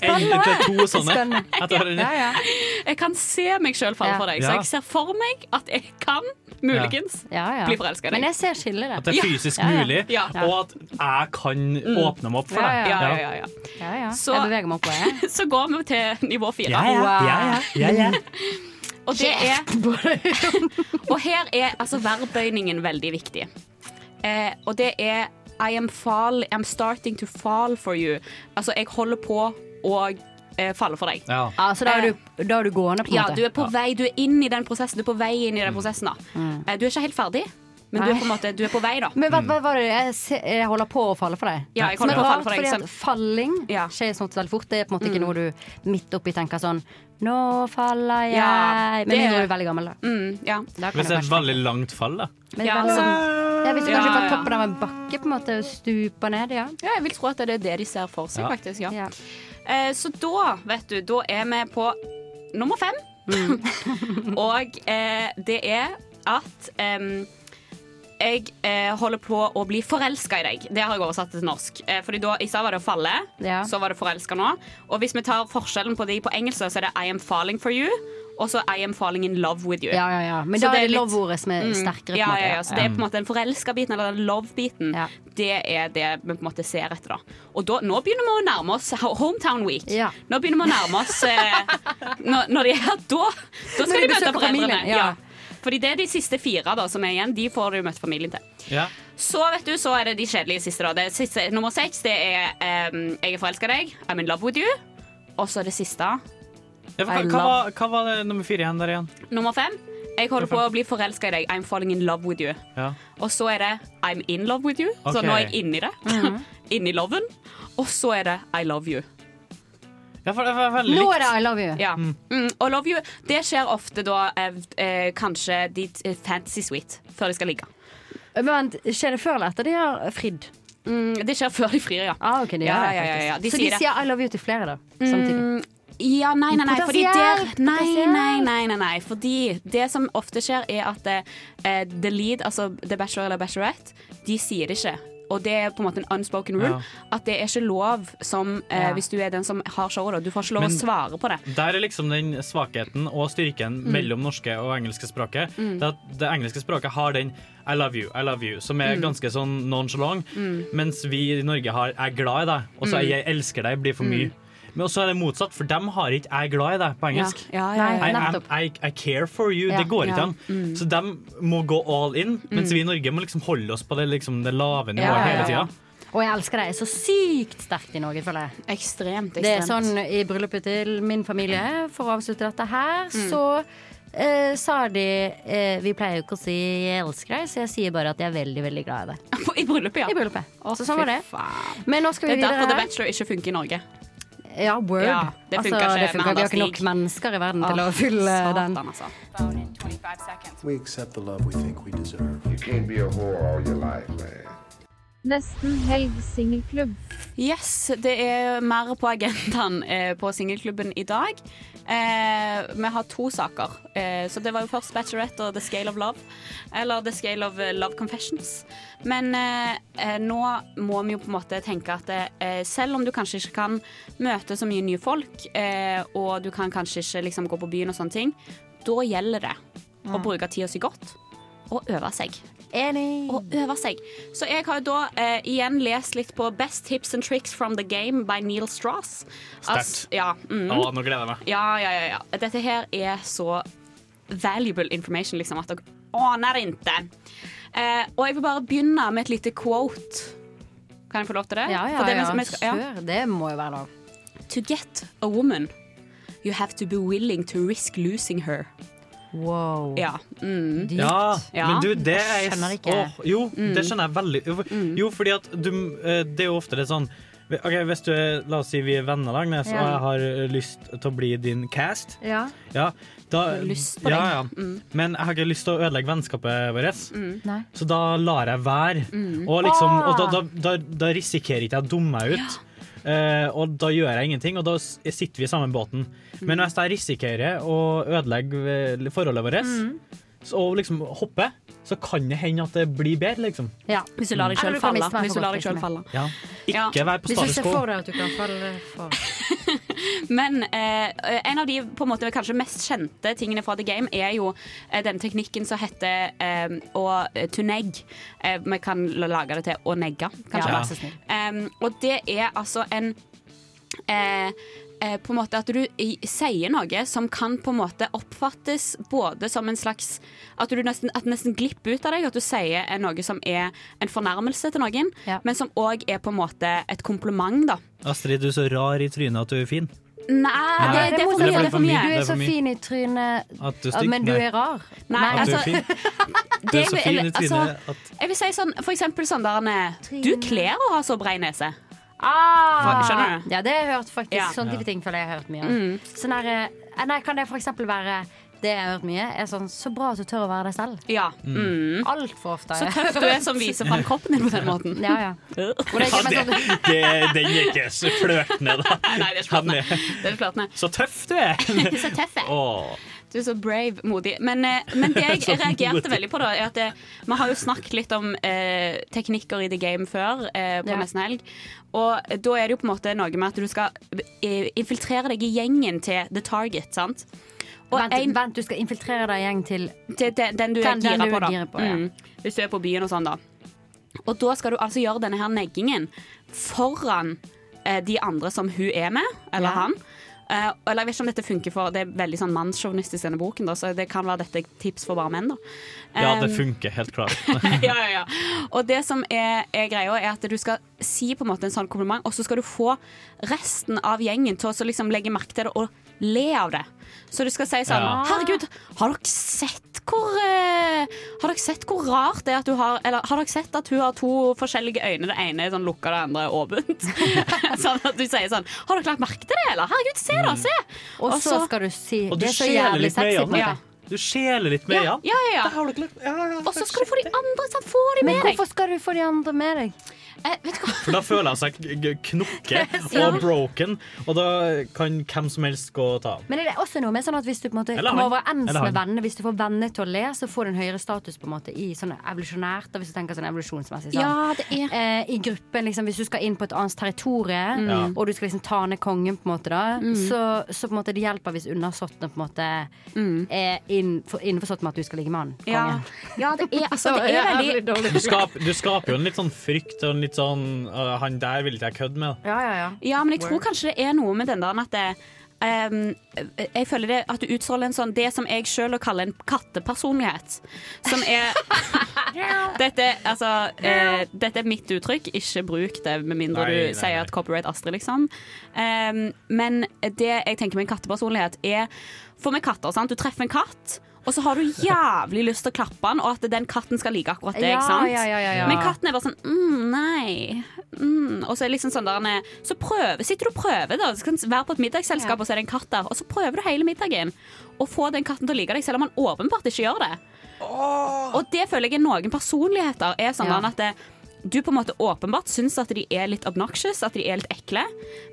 S3: Én til to sånne.
S2: Spennende.
S3: Etter hverandre.
S2: Ja, ja.
S4: Jeg kan se meg sjøl falle
S2: Ja.
S4: for deg.
S3: Ja.
S4: Så jeg ser for meg at jeg kan, muligens,
S2: ja, ja.
S4: bli forelska i
S2: Men
S4: deg.
S2: jeg ser skillet der.
S3: At det er fysisk
S2: Ja, ja.
S3: mulig,
S4: Ja.
S3: og at jeg kan åpne meg opp for
S2: Ja,
S3: deg.
S4: Ja, ja, ja, ja.
S2: Ja, ja.
S4: Så-
S2: jeg beveger meg oppover. jeg.
S4: *laughs* Så går vi til nivå fire.
S3: Ja, ja, ja, ja, ja, ja.
S4: Og det er *laughs* Og her er altså verbøyningen veldig viktig. Eh, og det er I am fall, I'm starting to fall for you. Altså, jeg holder på å eh, falle for deg.
S3: ja.
S2: Ja, så da er, du, Eh, da er du gående, på en
S4: Ja,
S2: måte.
S4: du er på vei, du er inn i den prosessen. Du er på vei inn i
S3: Mm.
S4: den prosessen, da. Eh, du er ikke helt ferdig, men du er på en måte du er på vei, da.
S2: Men hva, hva var det jeg, se- jeg holder på å falle for deg?
S4: Ja, jeg
S2: Som
S4: holder
S2: er
S4: på å falle
S2: rart,
S4: for deg,
S2: fordi at
S4: sant?
S2: falling
S4: Ja. Mm.
S2: skjer sånn veldig fort. Det er på en måte ikke noe du midt oppi tenker sånn Nå faller jeg
S4: Ja,
S2: Men
S4: det-
S2: mindre du er veldig gammel, da.
S4: Mm, ja.
S2: da kan
S3: Hvis
S2: du
S3: det er et
S2: kanskje-
S3: veldig langt fall, da.
S2: Men
S4: Ja,
S2: veldig sånn- ja, hvis du
S4: Ja,
S2: kanskje
S4: ja.
S2: på toppen av en bakke på en måte stuper ned, ja.
S4: ja, jeg vil tro at det er det de ser for seg,
S3: Ja.
S4: faktisk. Ja.
S2: ja.
S4: Eh, så da, vet du, da er vi på nummer fem.
S2: Mm.
S4: *laughs* og eh, det er at em, jeg eh, holder på å bli forelska i deg. Det har jeg oversatt til norsk. Eh, fordi da, I stad var det å falle,
S2: Ja.
S4: så var det forelska nå. Og hvis vi tar forskjellen på de på engelsk, så er det I am falling for you, og så I am falling in love with you.
S2: Ja, ja, ja. Men
S4: Så
S2: da
S4: det
S2: er
S4: er
S2: det
S4: litt- Mm.
S2: lovordet som er sterkere. på en
S4: Ja,
S2: måte.
S4: ja, ja. Så det er på en måte den forelska-biten, eller den love-biten,
S2: Ja.
S4: det er det vi på en måte ser etter. da. Og da, nå begynner vi å nærme oss ho- Hometown Week.
S2: Ja.
S4: Nå begynner vi å nærme oss
S2: *laughs*
S4: eh, når, når de er her, da, da
S2: Når
S4: skal
S2: de
S4: de møte
S2: besøker
S4: foreldrene.
S2: familien,
S4: Ja.
S2: ja.
S4: Fordi det er de siste fire da, som er igjen. De får du møtt familien til.
S3: Ja.
S4: Så vet du, så er det de kjedelige siste. da. Det siste nummer seks det er ehm, 'Jeg er forelska i deg', 'I'm in love with you'. Og så det siste,
S3: Ja, for hva,
S2: I
S3: hva, var, hva var det nummer fire igjen der igjen?
S4: nummer fem, 'Jeg holder på å bli forelska i deg', 'I'm falling in love with you'.
S3: Ja.
S4: Og så er det I'm in love with you. Så
S3: Ok.
S4: nå er jeg inni det. *laughs* inni loven. Og så er det I love you.
S3: ja, for det var veldig
S2: Nå
S3: likt.
S2: er det I love you.
S4: Ja. Mm, og love you, det skjer ofte da eh, eh, kanskje de t- eh, fantasy suite før de skal ligge.
S2: Men vent, skjer det før eller etter de har fridd?
S4: Mm, det skjer før de frir, ja.
S2: Ah, ok, de
S4: Ja,
S2: gjør det,
S4: ja, ja,
S2: faktisk.
S4: ja. De
S2: så
S4: sier
S2: de
S4: det. Mm.
S2: sier I love you til flere, da? Samtidig.
S4: Ja, nei, nei, nei. Fordi der,
S2: Potensielt,
S4: nei,
S2: potensielt.
S4: nei, nei, nei, nei. Fordi det som ofte skjer, er at eh, the lead, altså the bachelor eller bachelorette, de sier det ikke. Og det er på en måte en unspoken rule.
S3: Ja.
S4: At det er ikke lov som eh,
S2: Ja.
S4: Hvis du er den som har showet, da. Du får ikke lov
S3: Men-
S4: å svare på det.
S3: Der er liksom den svakheten og styrken
S2: Mm.
S3: mellom norske og engelske språket. Det, at det engelske språket har den I love you, I love you, som
S2: Mm.
S3: er ganske sånn nonchalant. Mens vi i Norge har jeg er glad i deg, og så
S2: Mm.
S3: er jeg elsker deg blir for mye. Men også er det motsatt, for dem har ikke jeg er glad i deg på engelsk.
S4: Ja, ja,
S2: Nei,
S4: ja, ja.
S3: I, am,
S2: nettopp.
S3: I, I care for you.
S2: Ja, Mm.
S3: det går ikke
S4: ja.
S3: an. Så de må gå all in, mens vi i Norge må liksom holde oss på det, liksom, det lave nivået
S2: Ja, ja,
S3: hele
S2: ja.
S3: tida.
S2: Og jeg elsker deg. Så sykt sterkt i Norge, føler jeg.
S4: Ekstremt, ekstremt.
S2: Det er
S4: *laughs*
S2: sånn i bryllupet til min familie, for å avslutte dette her, så eh, sa de eh, Vi pleier jo ikke å si 'jeg elsker deg', så jeg sier bare at jeg er veldig, veldig glad i deg.
S4: I bryllupet, ja.
S2: I bryllupet.
S4: Å,
S2: så sånn var det.
S4: fy faen.
S2: Men nå skal
S4: Det
S2: vi
S4: er
S2: videre.
S4: derfor The Bachelor ikke funker i Norge.
S2: Ja, word. Altså,
S4: Ja, det funker ikke
S2: det funker.
S4: med
S2: Vi har ikke
S4: Anders
S2: nok
S4: Stig.
S2: mennesker i verden til å fylle den.
S4: Satan, altså.
S7: Nesten helg singelklubb.
S4: Yes, det er mer på agendaen eh, på singelklubben i dag. Eh, vi har to saker. Eh, så det var jo først Bachelorette og The Scale of Love. Eller The Scale of eh, Love Confessions. Men eh, eh, nå må vi jo på en måte tenke at eh, selv om du kanskje ikke kan møte så mye nye folk, eh, og du kan kanskje ikke liksom gå på byen og sånne ting, da gjelder det å bruke tida si godt og Mm. øve seg
S2: Enig.
S4: å øve seg. Så jeg har jo da eh, igjen lest litt på Best tips and tricks from the game by Neil Strauss.
S3: Sterkt.
S4: ja, mm.
S3: Å, nå gleder jeg meg.
S4: ja, ja, ja, ja. Dette her er så valuable information, liksom, at dere aner ikke. Eh, og jeg vil bare begynne med et lite quote. Kan jeg få lov til det?
S2: Ja, ja,
S4: For det, vi-
S2: ja.
S4: vi skal- ja.
S2: Sure, det må jo være lov.
S4: To get a woman, you have to be willing to risk losing her.
S2: Wow.
S4: Ja. Mm.
S2: Dypt.
S3: Ja,
S4: Ja.
S3: men du, det er
S2: Jeg skjønner ikke.
S3: Åh, jo,
S4: Mm.
S3: det skjønner jeg veldig. Jo, for- Jo, fordi at du eh, Det er jo ofte litt sånn Ok, hvis du er, La oss si vi er venner, da, Agnes, og jeg har eh, lyst til å bli din cast.
S2: Ja.
S3: Ja, da,
S4: Du har lyst på Mm.
S3: ja,
S4: deg.
S3: ja. Men jeg har ikke lyst til å ødelegge vennskapet vårt,
S2: Mm. Nei. Mm. Ah.
S3: så da lar jeg være. Og, liksom, og da, da, da, da risikerer ikke jeg å dumme meg ut. Eh, og da gjør jeg ingenting, og da s- sitter vi i samme båten.
S2: Mm.
S3: Men
S2: Mm.
S3: hvis jeg risikerer å ødelegge eh, forholdet vårt, så- og liksom hoppe, så kan det hende at det blir bedre, liksom.
S2: Ja.
S4: Hvis du lar deg selv
S2: Eller du kan
S4: falle.
S2: miste meg
S4: Hvis
S2: for
S4: du lar
S2: godt,
S4: deg selv
S2: liksom.
S4: falle.
S3: Ja.
S4: Ja.
S3: Ikke vær på
S2: Hvis du ser
S3: status quo.
S2: for deg at du kan falle for
S4: Men eh, en av de på en måte kanskje mest kjente tingene fra The Game er jo eh, denne teknikken som heter eh, å tunegg. Eh, vi kan l- lage det til å negge, kanskje.
S3: Ja.
S4: Em, og det er altså en eh, eh, på en måte at du i, sier noe som kan på en måte oppfattes både som en slags At du nesten, at det nesten glipper ut av deg, at du sier eh, noe som er en fornærmelse til noen,
S2: Ja.
S4: men som òg er på en måte et kompliment, da.
S3: Astrid, du er så rar i trynet at du er fin.
S4: Nei, det, det, er for mye, det er for mye.
S2: Du
S3: Det
S2: er
S3: er
S2: så
S3: for mye.
S2: fin i trynet,
S3: At du er
S2: ja,
S3: stygg.
S2: men du
S3: Nei.
S2: er rar.
S4: Nei,
S2: Nei,
S3: At du
S4: altså,
S3: er
S2: *laughs*
S3: fin. Du
S4: det
S3: er så
S4: vil-
S3: fin i
S4: altså,
S3: trynet at
S4: Jeg vil si sånn, for eksempel sånn der Anne, Du kler å ha så brei nese.
S2: Ah,
S4: Fuck, skjønner du?
S2: Ja, det har jeg hørt faktisk.
S4: Ja.
S2: Sånne type ting føler jeg jeg har hørt mye. om. Sånn der, eh, nei, kan det for eksempel være det jeg har hørt mye, er sånn Så bra at du tør å være deg selv.
S4: Ja. Mm.
S2: Altfor ofte.
S4: Så tøff du er som viser fram kroppen din på den måten.
S2: Ja, ja. Og det er
S3: ja,
S2: ikke
S3: det,
S2: mer sånn,
S3: det, Den er ikke så flørtende, da.
S4: Nei, det er
S3: Han
S4: flørtende. Det er flørtende.
S3: Så tøff du er! eh.
S4: Så tøff jeg.
S3: Åh.
S4: Du er så brave, modig. Men, eh, men det
S3: *laughs*
S4: jeg reagerte veldig på, da, er at eh, vi har jo snakket litt om eh, teknikker i the game før, eh, på
S2: Ja.
S4: nesten helg. Og da er det jo på en måte noe med at du skal eh, infiltrere deg i gjengen til the target, sant. Og
S2: vent,
S4: en-
S2: vent, du skal infiltrere deg i gjeng til
S4: til den, den du
S2: Den-
S4: er
S2: den
S4: gira
S2: du
S4: på,
S2: er
S4: da.
S2: gira på, ja.
S4: mm. Hvis du er på byen og sånn, da. Og da skal du altså gjøre denne her neggingen foran eh, de andre som hun er med, eller
S2: Ja.
S4: han. Eh, eller jeg vet ikke om dette funker for Det er veldig sånn mannssjåvinistisk i denne boken, da, så det kan være dette er tips for bare menn, da.
S3: Ja,
S4: Eh,
S3: det funker, helt klart.
S4: ja, ja, ja. Og det som er, er greia, er at du skal si på en måte en sånn kompliment, og så skal du få resten av gjengen til å så liksom legge merke til det og le av det. Så du skal si sånn
S3: Ja.
S4: Herregud, har dere sett hvor eh, Har dere sett hvor rart det er at du har Eller har dere sett at hun har to forskjellige øyne? Det ene er sånn lukka, det andre er åpent. *laughs* sånn at du sier sånn Har dere lagt merke til det, eller? Herregud, se da, se!
S2: Og
S4: *laughs* Og
S2: så
S4: så-
S2: skal du si
S3: Og du
S2: Det er så
S3: skjeler
S2: jævlig
S3: litt med
S2: sexy. på en
S3: øynene.
S2: måte.
S3: Du skjeler litt med
S4: Ja,
S3: øynene.
S4: ja, ja. Og så skal du få de andre sånn, Få
S2: Men
S4: de med deg.
S2: hvorfor skal du få de andre med deg?
S4: Eh, vet du hva?
S3: For da føler han seg g- g-
S4: *laughs*
S3: knokke og broken, og da kan hvem som helst gå og ta han.
S2: Men er det også noe med sånn at hvis du på en måte
S3: Eller
S2: kommer
S3: han.
S2: overens
S3: Eller
S2: med
S3: han.
S2: vennene, hvis du får vennene til å le, så får du en høyere status på en måte i sånn evolusjonært, da, hvis du tenker sånn evolusjonsmessig. Sånn.
S4: det er
S2: eh, i gruppen, liksom, hvis du skal inn på et annet territorium,
S4: Mm.
S3: Ja.
S2: og du skal liksom ta ned kongen, på en måte, da, så, så på en måte det hjelper hvis undersåttene på en måte er innfor, innforstått med at du skal ligge med han.
S4: Mm. Ja.
S2: Kongen. *laughs*
S4: ja, det er altså Det er veldig
S3: Du, skap, du skaper jo en litt sånn frykt og en litt sånn «Å, Han der vil ikke jeg kødde med.
S2: Ja, ja, ja.
S4: Ja, men jeg tror kanskje det er noe med den der at det, ehm, Jeg føler det at du utstråler en sånn Det som jeg sjøl kaller en kattepersonlighet.
S2: *laughs*
S4: Som er Dette, altså, eh, dette er mitt uttrykk, ikke bruk det med mindre
S3: Nei,
S4: du
S3: nei,
S4: sier
S3: nei.
S4: at copyright Astrid, liksom. Ehm, men det jeg tenker med en kattepersonlighet er For med katter, sant. Du treffer en katt. Og så har du jævlig lyst til å klappe den, og at den katten skal like akkurat deg.
S2: Ja,
S4: ikke sant?
S2: ja, ja, ja, ja.
S4: Men katten er bare sånn mm, Nei. Mm. Og så er det liksom sånn der han er- Så prøver, sitter du og prøver, da. Du kan være på et middagsselskap,
S2: Ja.
S4: og så er det en katt der. Og så prøver du hele middagen å få den katten til å like deg, selv om han åpenbart ikke gjør det. Og det føler jeg er noen personligheter er sånn
S2: Ja.
S4: at det, du på en måte åpenbart syns at de er litt obnoxious, at de er litt ekle,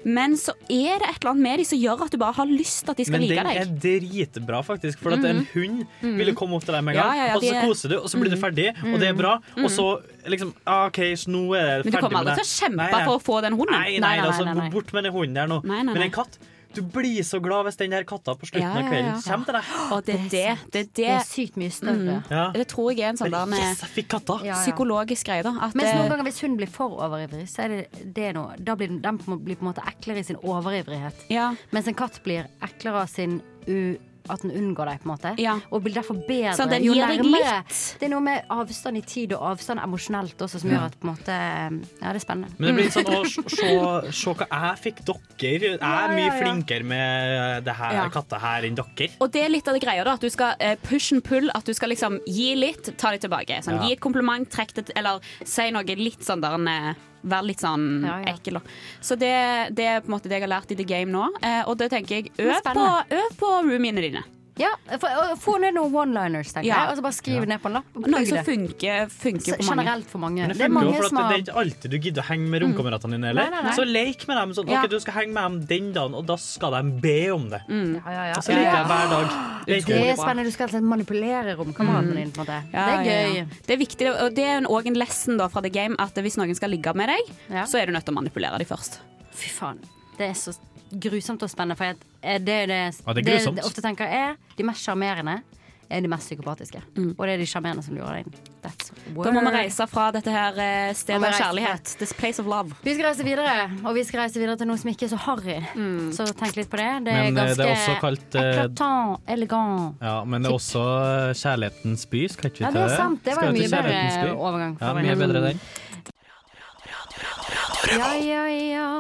S4: men så er det et eller annet med de som gjør at du bare har lyst til at de skal
S3: Men
S4: like
S3: den er
S4: deg. Mhm.
S3: dritbra, faktisk. For at en hund ville komme opp til deg med en
S4: Ja,
S3: gang,
S4: ja, ja,
S3: og så
S4: de er- Mhm.
S3: koser du, og så blir du ferdig, og det er bra, og så liksom «Ah, OK, så nå er jeg
S4: Men du
S3: ferdig
S4: kommer
S3: med
S4: aldri
S3: det.
S4: til å kjempe
S3: Nei, nei.
S4: for å få den hunden.
S3: Nei, nei,
S2: Nei, nei,
S3: altså,
S2: nei, nei.
S3: bort med den hunden der nå.
S4: Nei, nei,
S3: Men
S4: nei.
S3: en katt du blir så glad hvis den der katta på slutten
S4: Ja,
S3: av
S4: ja,
S3: kvelden
S4: ja.
S3: kommer til deg.
S4: Og det er det. Det, er
S2: Det
S4: det,
S2: er sykt mye større.
S3: Ja.
S4: det tror jeg er en sånn der med
S3: Yes, jeg fikk katta!
S2: Ja, ja.
S4: psykologisk greie, da. At
S2: Mens
S4: det-
S2: noen ganger hvis hun blir for overivrig, så er det det noe. Da blir den, den på- blir på en måte eklere i sin overivrighet.
S4: ja,
S2: Mens en katt blir eklere av sin u, at den unngår deg, på en måte.
S4: Ja.
S2: Og blir derfor bedre.
S4: Sånn, den
S2: jo
S4: gir deg
S2: nærmere.
S4: litt.
S2: Det er noe med avstand i tid og avstand emosjonelt også som gjør at på en måte eh, Ja, det er spennende.
S3: Men det blir litt sånn å se, se- se hva jeg fikk dere. Jeg er mye flinkere med det her
S4: Ja.
S3: katta her enn dere.
S4: Og det er litt av det greia, da. At du skal eh, push and pull. At du skal liksom gi litt, ta det tilbake. Sånn,
S3: Ja.
S4: Gi et kompliment, trekk det Eller si noe litt sånn der en eh, Vær litt sånn
S2: Ja, ja.
S4: ekkel, da. Så det, det er på en måte det jeg har lært i The Game nå. Eh, og det tenker jeg
S2: er
S4: Øv på,
S2: spennende.
S4: øv på roomiene dine.
S2: Ja, få- og få ned noen one-liners, tenker
S4: Ja.
S2: jeg. Og så bare skriv
S4: Ja.
S2: ned på en lapp. og
S4: Noe
S2: plugg
S4: som
S2: det.
S4: funker, funker på
S2: Så
S4: mange.
S2: Generelt for mange.
S3: Men det
S2: Det er
S3: funker jo,
S2: mange
S3: for at
S2: som
S3: det, det
S2: har Mm.
S3: er ikke alltid du gidder å henge med romkameratene dine. Eller?
S2: Nei, nei, nei.
S3: Så leik med dem. Sånn,
S2: Ja.
S3: ok, Du skal henge med dem den dagen, og da skal de be om det.
S2: Ja, Mm. ja, ja.
S3: Og så leker jeg hver dag. Det er
S2: Det er
S3: utrolig bra.
S2: spennende. Du skal altså manipulere romkameratene dine. på en måte. Det er
S4: Mm. Ja, ja,
S2: gøy.
S4: ja. Det er viktig, og det er òg en lesson da, fra The Game at hvis noen skal ligge med deg, så er du nødt til å manipulere dem først.
S2: Fy faen. Det er så grusomt og spennende. For jeg- eh, det er det,
S3: Ja, det er grusomt.
S2: jeg ofte tenker er de mest sjarmerende er de mest psykopatiske. Og det er de sjarmerende som lurer deg inn. That's
S4: Da må
S2: word.
S4: vi reise fra dette her eh,
S2: Må
S4: stedet
S2: vi
S4: av
S2: reise
S4: kjærlighet. This place of love.
S2: Vi skal reise videre, og vi skal reise videre til noe som ikke er så harry. Så tenk litt på det. Det er
S3: Men, eh,
S2: ganske
S3: det er også kalt, eh,
S2: éclatant, elegant.
S3: Ja, men det er også eh, Kjærlighetens by. Skal ikke vi
S2: Ja,
S3: til
S2: det er sant. Det var
S3: Skal
S2: en
S3: vi
S2: mye
S3: til Kjærlighetens
S2: bedre
S3: by?
S2: overgang. fra
S3: Ja,
S2: meg. Mm.
S3: mye bedre den.
S2: Ja, ja, ja.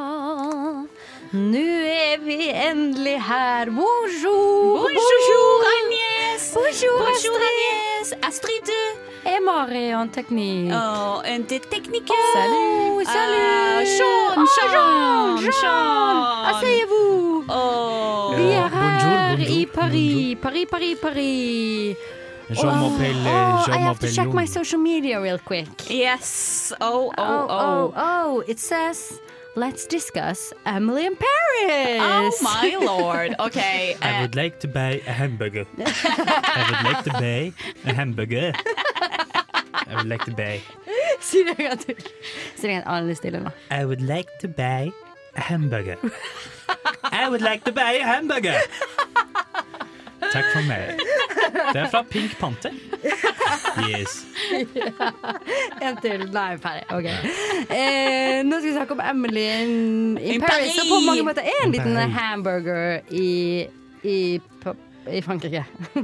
S2: Nå er vi endelig her. Bonjour!
S4: Bonjour, Agnes!
S2: Bonjour,
S4: Bonjour,
S2: Astrid!
S4: Agnes! Astrid, Oh, du
S2: Jeg er Marion Teknikk.
S4: og en te- tekniker.
S2: Oh, Salut,
S4: Ah,
S2: salut!
S4: Sean,
S2: Ah,
S4: Oh, Sean, Euh,
S2: Jean, Jean! Asseyez-vous!
S4: Åh.
S2: Vi er
S3: Eh, bonjour,
S2: her i
S3: bonjour,
S2: Paris, Paris, Paris, Paris.
S3: Je m'appelle euh,
S2: Oh,
S3: Je
S2: I have to check my
S3: m'appelle
S2: social media real quick.
S4: Yes. Oh, oh,
S2: Oh, oh,
S4: oh.
S2: oh, it says, let's discuss Emily in Paris.
S4: Oh,
S2: *laughs*
S4: my lord. OK.
S3: I
S4: eh,
S3: would like to buy
S2: *laughs*
S3: a hamburger. I would like to buy a hamburger. I would like to buy
S2: Si det en gang til. Si det en gang alle stille nå.
S3: I would like to buy a hamburger. I would like to buy a hamburger. Takk for meg. Det er fra Pink Panther. Yes.
S2: En til. Nei, ferdig. Ok. Eh, nå skal vi snakke om Emily in, in
S4: In
S2: Paris, som på
S4: Paris.
S2: mange måter er en liten
S3: Paris.
S2: hamburger i, i, på- i Frankrike. *laughs*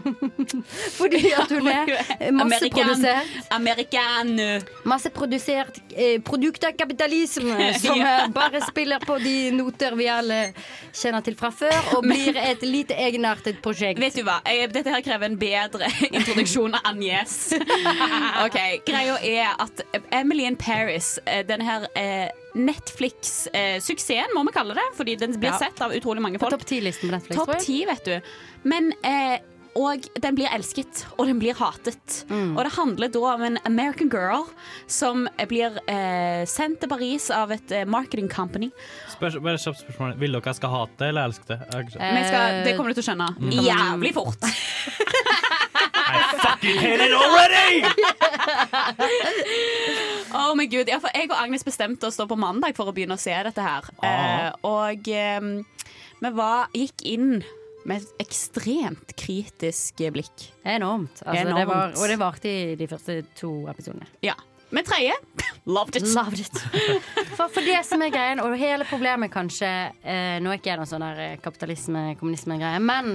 S2: Fordi at hun er masseprodusert.
S4: Amerikan.
S2: Masseprodusert eh, produkt av
S4: *laughs*
S2: kapitalisme som eh, bare spiller på de noter vi alle kjenner til fra før, og blir et lite egenartet prosjekt.
S4: Vet du hva, jeg, dette her krever en bedre *laughs* introduksjon av Agnes. Ok, Greia er at Emily in Paris, eh, den her eh, Netflix-suksessen, må vi kalle det, fordi den blir
S2: Ja.
S4: sett av utrolig mange
S2: På
S4: folk.
S2: topp ti-listen på Netflix.
S4: Topp
S2: tror jeg.
S4: ti, vet du. Men eh, og den blir elsket, og den blir hatet. Og det handler da om en American girl som blir eh, sendt til Paris av et eh, marketing company.
S3: Spørs, bare kjapt spørsmål. Vil dere jeg skal hate det eller elske det? Jeg har ikke skjønt.
S4: Men jeg skal, det kommer du til å skjønne Mm. jævlig fort.
S3: I fucking hate it already!
S4: Å, men Gud. Oh Ja, for jeg og Agnes bestemte oss da på mandag for å begynne å se dette her.
S3: Ah.
S4: Eh, og eh, vi var, gikk inn med et ekstremt kritisk blikk.
S2: Enormt. Altså,
S4: Enormt.
S2: Det var, og det varte i de første to episodene.
S4: Ja. Men tredje *laughs* loved it.
S2: Loved it. For, for det som er greien, og hele problemet kanskje eh, Nå er ikke jeg noen sånn der eh, kapitalisme-kommunisme-greie, men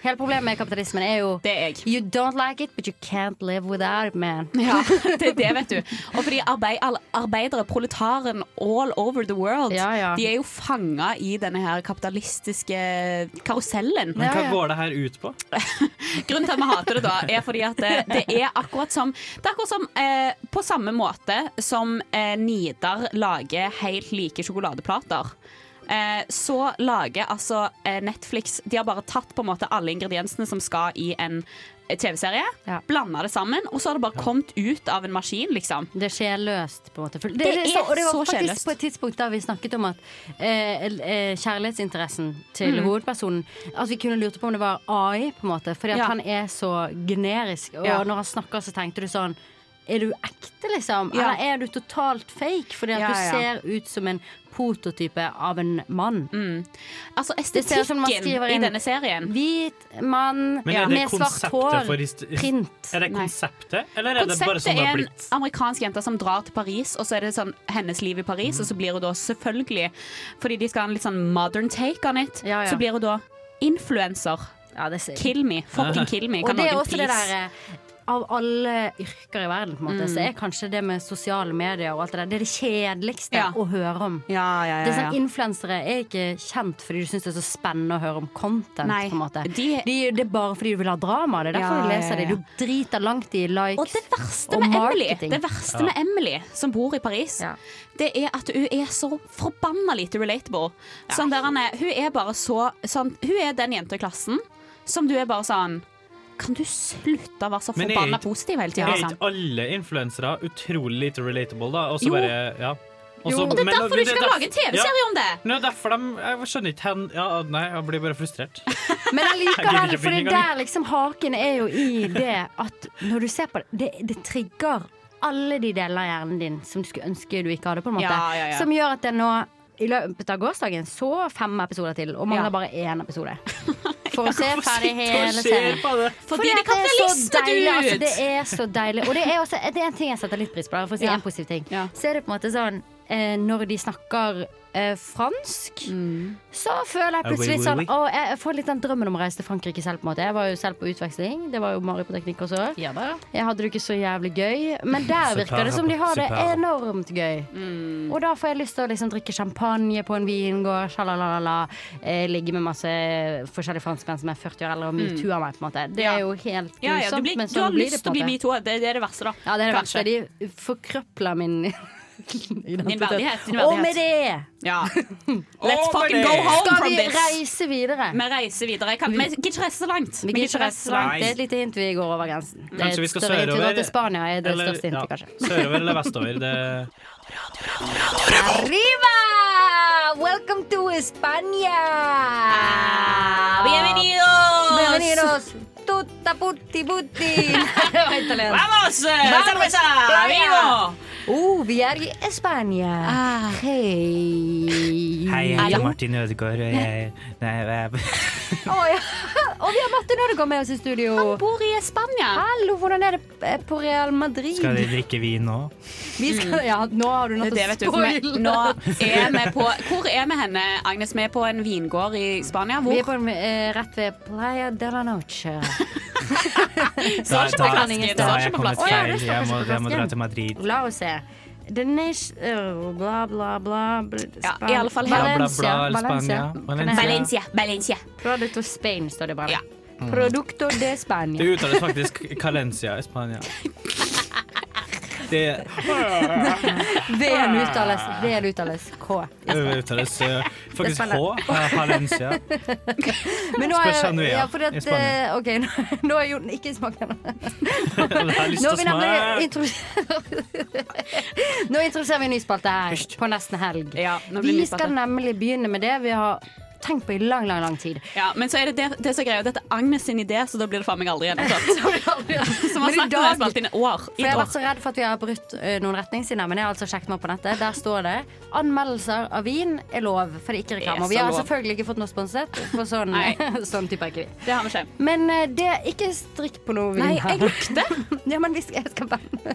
S2: hele problemet med kapitalismen er jo
S4: Det er jeg.
S2: You don't like it, but you can't live without it, man.
S4: Ja, *laughs* det er det, vet du. Og fordi arbeid, alle arbeidere, proletaren all over the world,
S2: Ja, ja.
S4: de er jo fanga i denne her kapitalistiske karusellen.
S3: Men hva
S2: Ja, ja.
S3: går det her ut på?
S4: Grunnen til at vi hater det da, er fordi at det, det er akkurat som Det er akkurat som eh, på samme måte som eh, Nidar lager helt like sjokoladeplater. Eh, så lager altså eh, Netflix De har bare tatt på en måte alle ingrediensene som skal i en eh, TV-serie,
S2: Ja.
S4: blanda det sammen, og så har det bare kommet ut av en maskin, liksom.
S2: Det er sjelløst, på en måte. For det,
S4: Det
S2: så,
S4: er
S2: og det var
S4: så
S2: faktisk
S4: sjelløst.
S2: på et tidspunkt da vi snakket om at eh, eh, kjærlighetsinteressen til
S4: Mm.
S2: hovedpersonen At vi kunne lurt på om det var AI, på en måte. Fordi at
S4: Ja.
S2: han er så generisk. Og
S4: Ja.
S2: når han snakker, så tenkte du sånn er du ekte, liksom?
S4: Ja.
S2: Eller er du totalt fake? Fordi at
S4: Ja, ja.
S2: du ser ut som en prototype av en mann.
S4: Altså
S2: ser ut som
S4: estetikken
S2: man skriver
S4: i
S2: inn-
S4: denne serien.
S2: Hvit mann
S3: Men er det
S2: med svart
S3: konseptet
S2: hår.
S3: for hist-
S2: Print.
S3: Er det
S4: Nei.
S3: konseptet, eller er det bare
S4: Konseptet
S3: sånn det
S4: er
S3: har
S4: en
S3: blitt?
S4: amerikansk jente som drar til Paris, og så er det sånn hennes liv i Paris, og så blir hun da selvfølgelig, fordi de skal ha en litt sånn modern take on it,
S2: Ja, ja.
S4: så blir hun da influenser.
S2: Ja, det ser
S4: Kill me. Fucking kill me.
S2: Og
S4: Kan
S2: det er
S4: noen
S2: også
S4: please?
S2: det der eh, Av alle yrker i verden, på en
S4: Mm.
S2: måte, så er kanskje det med sosiale medier og alt det der, det er det kjedeligste
S4: Ja.
S2: å høre om.
S4: Ja, ja,
S2: Det er sånn, Influensere er ikke kjent fordi du syns det er så spennende å høre om content.
S4: Nei,
S2: på en måte.
S4: de-
S2: De- det er bare fordi du vil ha drama. Det er derfor
S4: Ja,
S2: du
S4: ja,
S2: leser
S4: ja.
S2: det. Du driter langt i likes.
S4: Og det verste
S2: og
S4: med Emily,
S2: marketing.
S4: det verste med Emily som bor i Paris,
S2: Ja.
S4: det er at hun er så forbanna lite relatable. Sånn der han er, hun er bare så sånn, Hun er den jenta i klassen som du er bare sånn Kan du slutte å være så
S3: Men er
S4: forbanna
S3: ikke-
S4: positiv hele altså?
S3: Er
S4: tida?
S3: ikke alle influensere utrolig lite relatable, da? Og så
S4: Jo.
S3: bare Ja. Og så-
S4: Jo. Det er
S3: altså, men-
S4: derfor du
S3: men
S4: ikke
S3: er
S4: kan
S3: derf-
S4: lage en TV-serie om det.
S3: Ja. Men det er derfor de Jeg skjønner ikke hen ja, Nei, jeg blir bare frustrert.
S2: Men allikevel,
S3: Jeg gidder ikke å
S2: for det
S3: begynne
S2: der
S3: engang.
S2: liksom haken er jo i det at når du ser på det, det, det trigger alle de delene av hjernen din som du skulle ønske du ikke hadde, på en måte.
S4: Ja, ja, ja.
S2: Som gjør at det nå, i løpet av gårsdagen, så fem episoder til, og mangler bare én episode. For å se
S3: *laughs*
S2: ferdig hele serien.
S4: Fordi det er
S2: at er så
S4: kapitalisme,
S2: deilig, Altså,
S4: dude!
S2: det er så deilig. Og det er, også, det er en ting jeg setter litt pris på, da, for å si
S4: Ja.
S2: en positiv ting.
S4: Ja.
S2: Så er det på en måte sånn eh, Når de snakker eh, fransk,
S4: Mm.
S2: så føler jeg
S3: Ah, oui,
S2: plutselig
S3: oui,
S2: sånn
S3: oui.
S2: Å, jeg, jeg får litt den drømmen om å reise til Frankrike selv, på en måte. Jeg var jo selv på utveksling. Det var jo Mari på teknikk også.
S4: Ja da.
S2: Jeg hadde det ikke så jævlig gøy, men
S3: *laughs*
S2: der virker det som de har det
S3: Superb.
S2: enormt gøy. Og da får jeg lyst til å liksom drikke champagne på en vingård, sjalalala, eh, ligge med masse forskjellige franskmenn som er 40 år eldre og metoo av meg, på en måte. Det
S4: Mm. Ja.
S2: er jo helt grusomt,
S4: Ja, ja, du, blir,
S2: men
S4: du
S2: sånn
S4: har
S2: blir det
S4: lyst til
S2: på
S4: å bli
S2: en måte.
S4: metoo. Det, det er det verste, da.
S2: Ja, det er det verste.
S4: Kanskje.
S2: De forkrøpler min *laughs* identitet.
S4: Din verdighet, din
S2: Og med
S4: verdighet.
S2: det
S3: *laughs*
S4: Ja. Let's
S3: Over
S4: fucking
S3: det.
S4: go home
S2: skal
S4: from
S2: vi
S4: this.
S2: reise videre.
S4: Vi reiser videre. Kan, vi gidder ikke reise så langt.
S2: Vi
S4: gidder
S2: gidder ikke reise så langt.
S3: Nei.
S2: Det er et lite hint vi går over grensen. Det
S3: Kanskje
S2: er
S3: vi
S2: et
S3: skal
S2: større hint vi
S3: sørover,
S2: går til Spania, er det
S3: eller-
S2: største
S3: ja,
S2: hintet, kanskje.
S3: Sørover eller vestover. Det
S2: Arriba! Welcome to Spania!
S4: Ah, Bienvenidos!
S2: Bienvenidos! Tutta putti putti! *laughs* Det var italiensk.
S4: Vamos! eh,
S2: Vamos,
S4: Cerveza!
S2: playa!
S4: Vivo!
S2: Oh, vi er i Spania. Ah. Hei. Hallo.
S3: Martin Ødegaard, og jeg eh,
S2: *laughs* Å, ja. Og vi har Martin Ødegaard med oss i studio.
S4: Bor i Spania.
S2: Hallo, hvordan er det på eh, Real Madrid?
S3: drikke vin nå?
S2: Vi skal, ja, nå har du
S4: Det
S2: noe
S4: er det,
S2: til å
S4: vet du. For vi, nå
S2: spoile. *laughs*
S4: er vi på Hvor er vi henne, Agnes? Vi er på en vingård i Spania.
S2: Vi er
S4: Hvor?
S2: på, en, eh, rett ved Playa de la Noche.
S4: Står ikke på flasken.
S2: da
S4: Står
S2: har
S4: ikke på flasken.
S2: feil. Å, ja, det står Jeg må- kanskje på jeg må dra flasken. til
S3: Madrid.
S2: La oss se. The nation øh, Bla, bla, bla. bl-
S4: Ja,
S2: Span-
S4: i alle fall her.
S3: Bla, bla,
S2: Valencia.
S3: bla, Spania.
S2: Valencia.
S3: Valencia.
S4: Valencia. Valencia.
S2: Product of Spain, står det bare.
S4: Ja.
S2: Producto de
S3: Mm. Det
S2: Spania.
S3: uttales faktisk Calencia i Spania. Det
S2: V-en
S3: Ah.
S2: uttales, V-en uttales K.
S3: uttales eh,
S2: Det er
S3: faktisk H.
S2: spennende.
S3: eh, Valencia.
S2: Men nå er,
S3: Spørs Henry, ja,
S2: ja, fordi at,
S3: i Spania.
S2: eh, OK, *laughs* nå, nå er Jon ikke smakt ennå.
S3: Jeg har lyst
S2: Nå
S3: til
S2: har
S3: å
S2: vi
S3: smake.
S2: nemlig introdusert- *laughs* Nå introduserer vi en ny spalte her på nesten helg.
S4: Ja, nå blir
S2: Vi
S4: det
S2: skal
S4: nyspate.
S2: nemlig begynne med det vi har tenkt på i lang, lang, lang tid.
S4: Ja, men så er det det, det som er greia. Dette er Agnes sin idé, så da blir *laughs* det faen meg aldri
S2: *laughs*
S4: gjennomført. Som
S2: Men
S4: har
S2: i
S4: snakket om
S2: dag-
S4: det spalt inn i år.
S2: For
S4: I
S2: Jeg har vært
S4: år.
S2: så redd for at vi har brutt ø, noen retningslinjer, men jeg har altså sjekket meg opp på nettet. Der står det anmeldelser av vin er lov, for det er ikke
S4: Det
S2: reklame.
S4: er
S2: Og vi
S4: så
S2: har
S4: lov.
S2: selvfølgelig ikke fått noe sponset, for sånn,
S4: Nei.
S2: *laughs* sånn type er ikke vi.
S4: Det har vi ikke.
S2: Men ø, det er ikke strikk på noe vin
S4: Nei, jeg
S2: lukter. ja, men vi skal, jeg skal
S4: *laughs*
S2: bare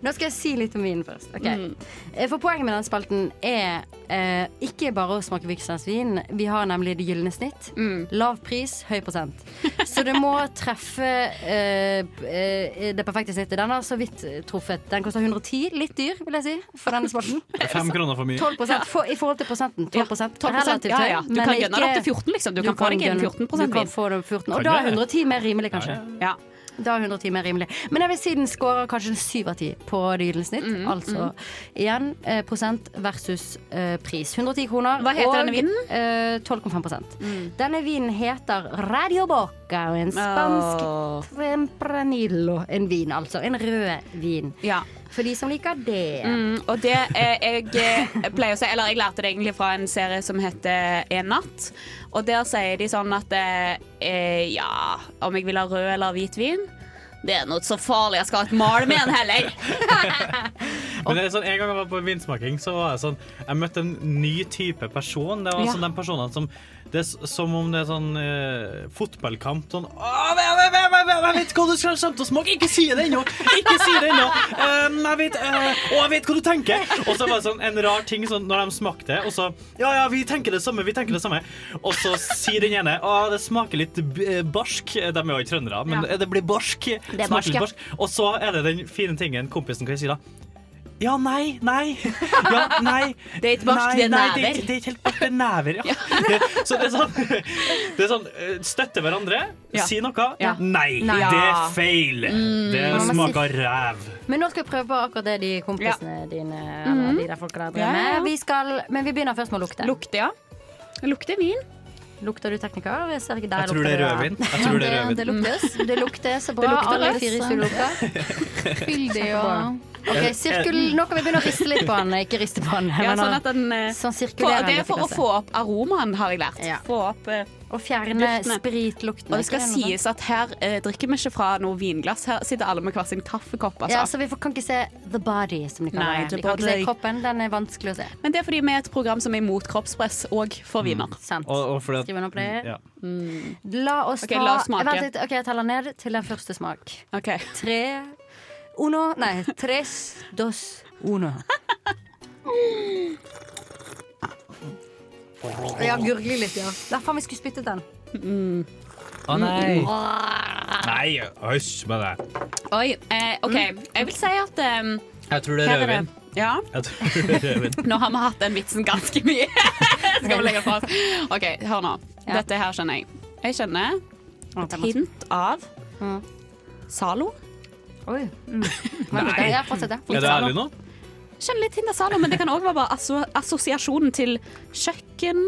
S2: Nå skal jeg si litt om vinen først. Ok.
S4: Mm.
S2: Eh, For poenget med den spalten er eh, ikke bare å smake Vikslandsvin. Vi har nemlig det gylne snitt.
S4: Mm.
S2: Lav pris, høy prosent. Så det må
S4: *laughs*
S2: treffe eh, eh, det perfekte snittet. Den har så vidt eh, truffet. Den koster 110. Litt dyr, vil jeg si, for denne spalten.
S3: Fem kroner for mye.
S2: 12 for, I forhold til prosenten. 12
S4: Relativt
S2: Relativt
S4: ja, ja.
S2: høy,
S4: Du
S2: men
S4: kan
S2: ikke-
S4: gønne det opp til 14, liksom. Du, kan få deg en
S2: gønne-
S4: 14
S2: Du kan
S4: vin.
S2: få det 14. Og
S3: Kan
S2: da
S3: du
S2: er
S3: det?
S2: 110 mer rimelig, kanskje.
S3: Ja,
S4: Ja.
S2: Da er 110 mer rimelig. Men jeg vil si den scorer kanskje en 7 av 10 på det gylne snitt.
S4: Mm-hmm,
S2: altså igjen eh, prosent versus eh, pris. 110 kroner.
S4: Hva heter
S2: og,
S4: denne vinen? Mm.
S2: Eh, 12,5 Denne vinen heter Radio Boca, og en spansk
S4: Åh.
S2: Tempranillo. En vin, altså. En rød vin.
S4: Ja.
S2: For de som liker det.
S4: Mm, og det eh, jeg eh, pleier å si, eller jeg lærte det egentlig fra en serie som heter En natt. Og der sier de sånn at eh, eh, ja, om jeg vil ha rød eller hvit vin Det er noe så farlig, jeg skal ha et mal med en
S2: *laughs*
S4: heller.
S3: Men det er sånn, En gang jeg var på vinsmaking, så var jeg sånn Jeg møtte en ny type person. Det var
S4: Ja.
S3: sånn de personene som Det er s- som om det er sånn eh, fotballkamp. Sånn «Åh, jeg, jeg, jeg, jeg, jeg, 'Jeg vet hva du skal komme til å smake! Ikke si det ennå! Ikke si det ennå! Um, jeg vet, eh, å, jeg vet hva du tenker!' Og så var det sånn en rar ting sånn, når de smakte, og så 'Ja, ja, vi tenker det samme, vi tenker det samme', og så sier den ene 'Å, det smaker litt b- eh, barsk'. De er jo ikke trøndere, men det blir barsk. Smaker
S2: barsk,
S3: litt
S2: ja.
S3: Og så er det den fine tingen kompisen kan si, da. Ja, nei, nei. Ja, nei.
S4: *laughs* Det er ikke barsk,
S3: Nei,
S4: det er
S3: nei,
S4: never.
S3: Det er, ikke- det er ikke helt barsk, det er never. Ja. *laughs* Det, så det er sånn, det er sånn eh, Støtte hverandre,
S4: Ja.
S3: si noe.
S4: Ja.
S3: Nei,
S4: Nei. Mm.
S3: det er feil. Det
S2: Man må
S3: smaker ræv.
S2: Men nå skal vi prøve på akkurat det de kompisene dine eller de der folka der driver
S4: Mm-hmm. Ja, ja, ja.
S2: med. Vi skal, men vi begynner først med å lukte.
S4: Lukter, ja. Lukter vin.
S2: Lukter du tekniker? Jeg ser ikke der
S3: Jeg tror det er
S2: lukter
S3: rødvin. Jeg tror det er
S2: Det
S3: rødvin.
S2: luktes. Det lukter så bra.
S8: Det lukter
S2: Alle
S8: rødt,
S2: fire i
S8: så.
S2: studio lukter.
S8: Fyldig og
S3: Eh,
S2: Ok, sirkel, Nå kan vi begynne å riste litt på den. Ikke riste på den,
S4: Ja,
S2: men
S4: sånn at den eh,
S2: sånn
S4: for,
S2: sirkulerende.
S4: Det er for å
S2: finesse.
S4: få opp aromaen, har jeg lært. Få opp eh,
S2: Og fjerne
S4: duftene.
S2: spritlukten.
S4: Og det skal
S2: ikke noe
S4: sies at her eh, drikker vi ikke fra noe vinglass. Her sitter alle med hver sin
S2: sånt?
S4: kaffekopp. Altså.
S2: Ja, så vi får, kan ikke se the body, som de
S4: Nei,
S2: kaller det.
S4: the
S2: Vi kan ikke se
S4: body.
S2: kroppen. Den er vanskelig å se.
S4: Men det er fordi vi er et program som er imot kroppspress og for
S2: Mm.
S4: viner.
S2: Sant.
S3: Og, og fordi at-
S2: Skriv under på det.
S3: Ja.
S2: La oss
S4: Ok,
S2: ta
S4: la oss smake.
S2: Vent litt. Ok, jeg teller ned til den første smak.
S4: Ok.
S2: Tre Uno Nei, tres dos uno. Ja, gurgle litt, ja. Da faen, vi skulle spyttet den.
S3: Å nei! Nei, hysj med det.
S4: Oi, eh, OK. Jeg vil si at eh,
S3: Jeg tror det
S4: hva
S3: Mm. er
S4: heter det?
S3: rødvin.
S4: Ja.
S3: Jeg tror det er rødvin.
S4: *laughs* Nå har vi hatt den vitsen ganske mye. Skal vi legge det fra oss? OK, hør nå.
S2: Ja.
S4: Dette her skjønner jeg. Jeg skjønner et hint av
S2: Mm.
S4: Zalo.
S2: Oi. Mm. Nei.
S3: Nei.
S2: Ja, fortsett, ja.
S3: Er du ærlig nå?
S4: Skjønner litt hint av Zalo, men det kan òg være bare asso assosiasjonen til kjøkken.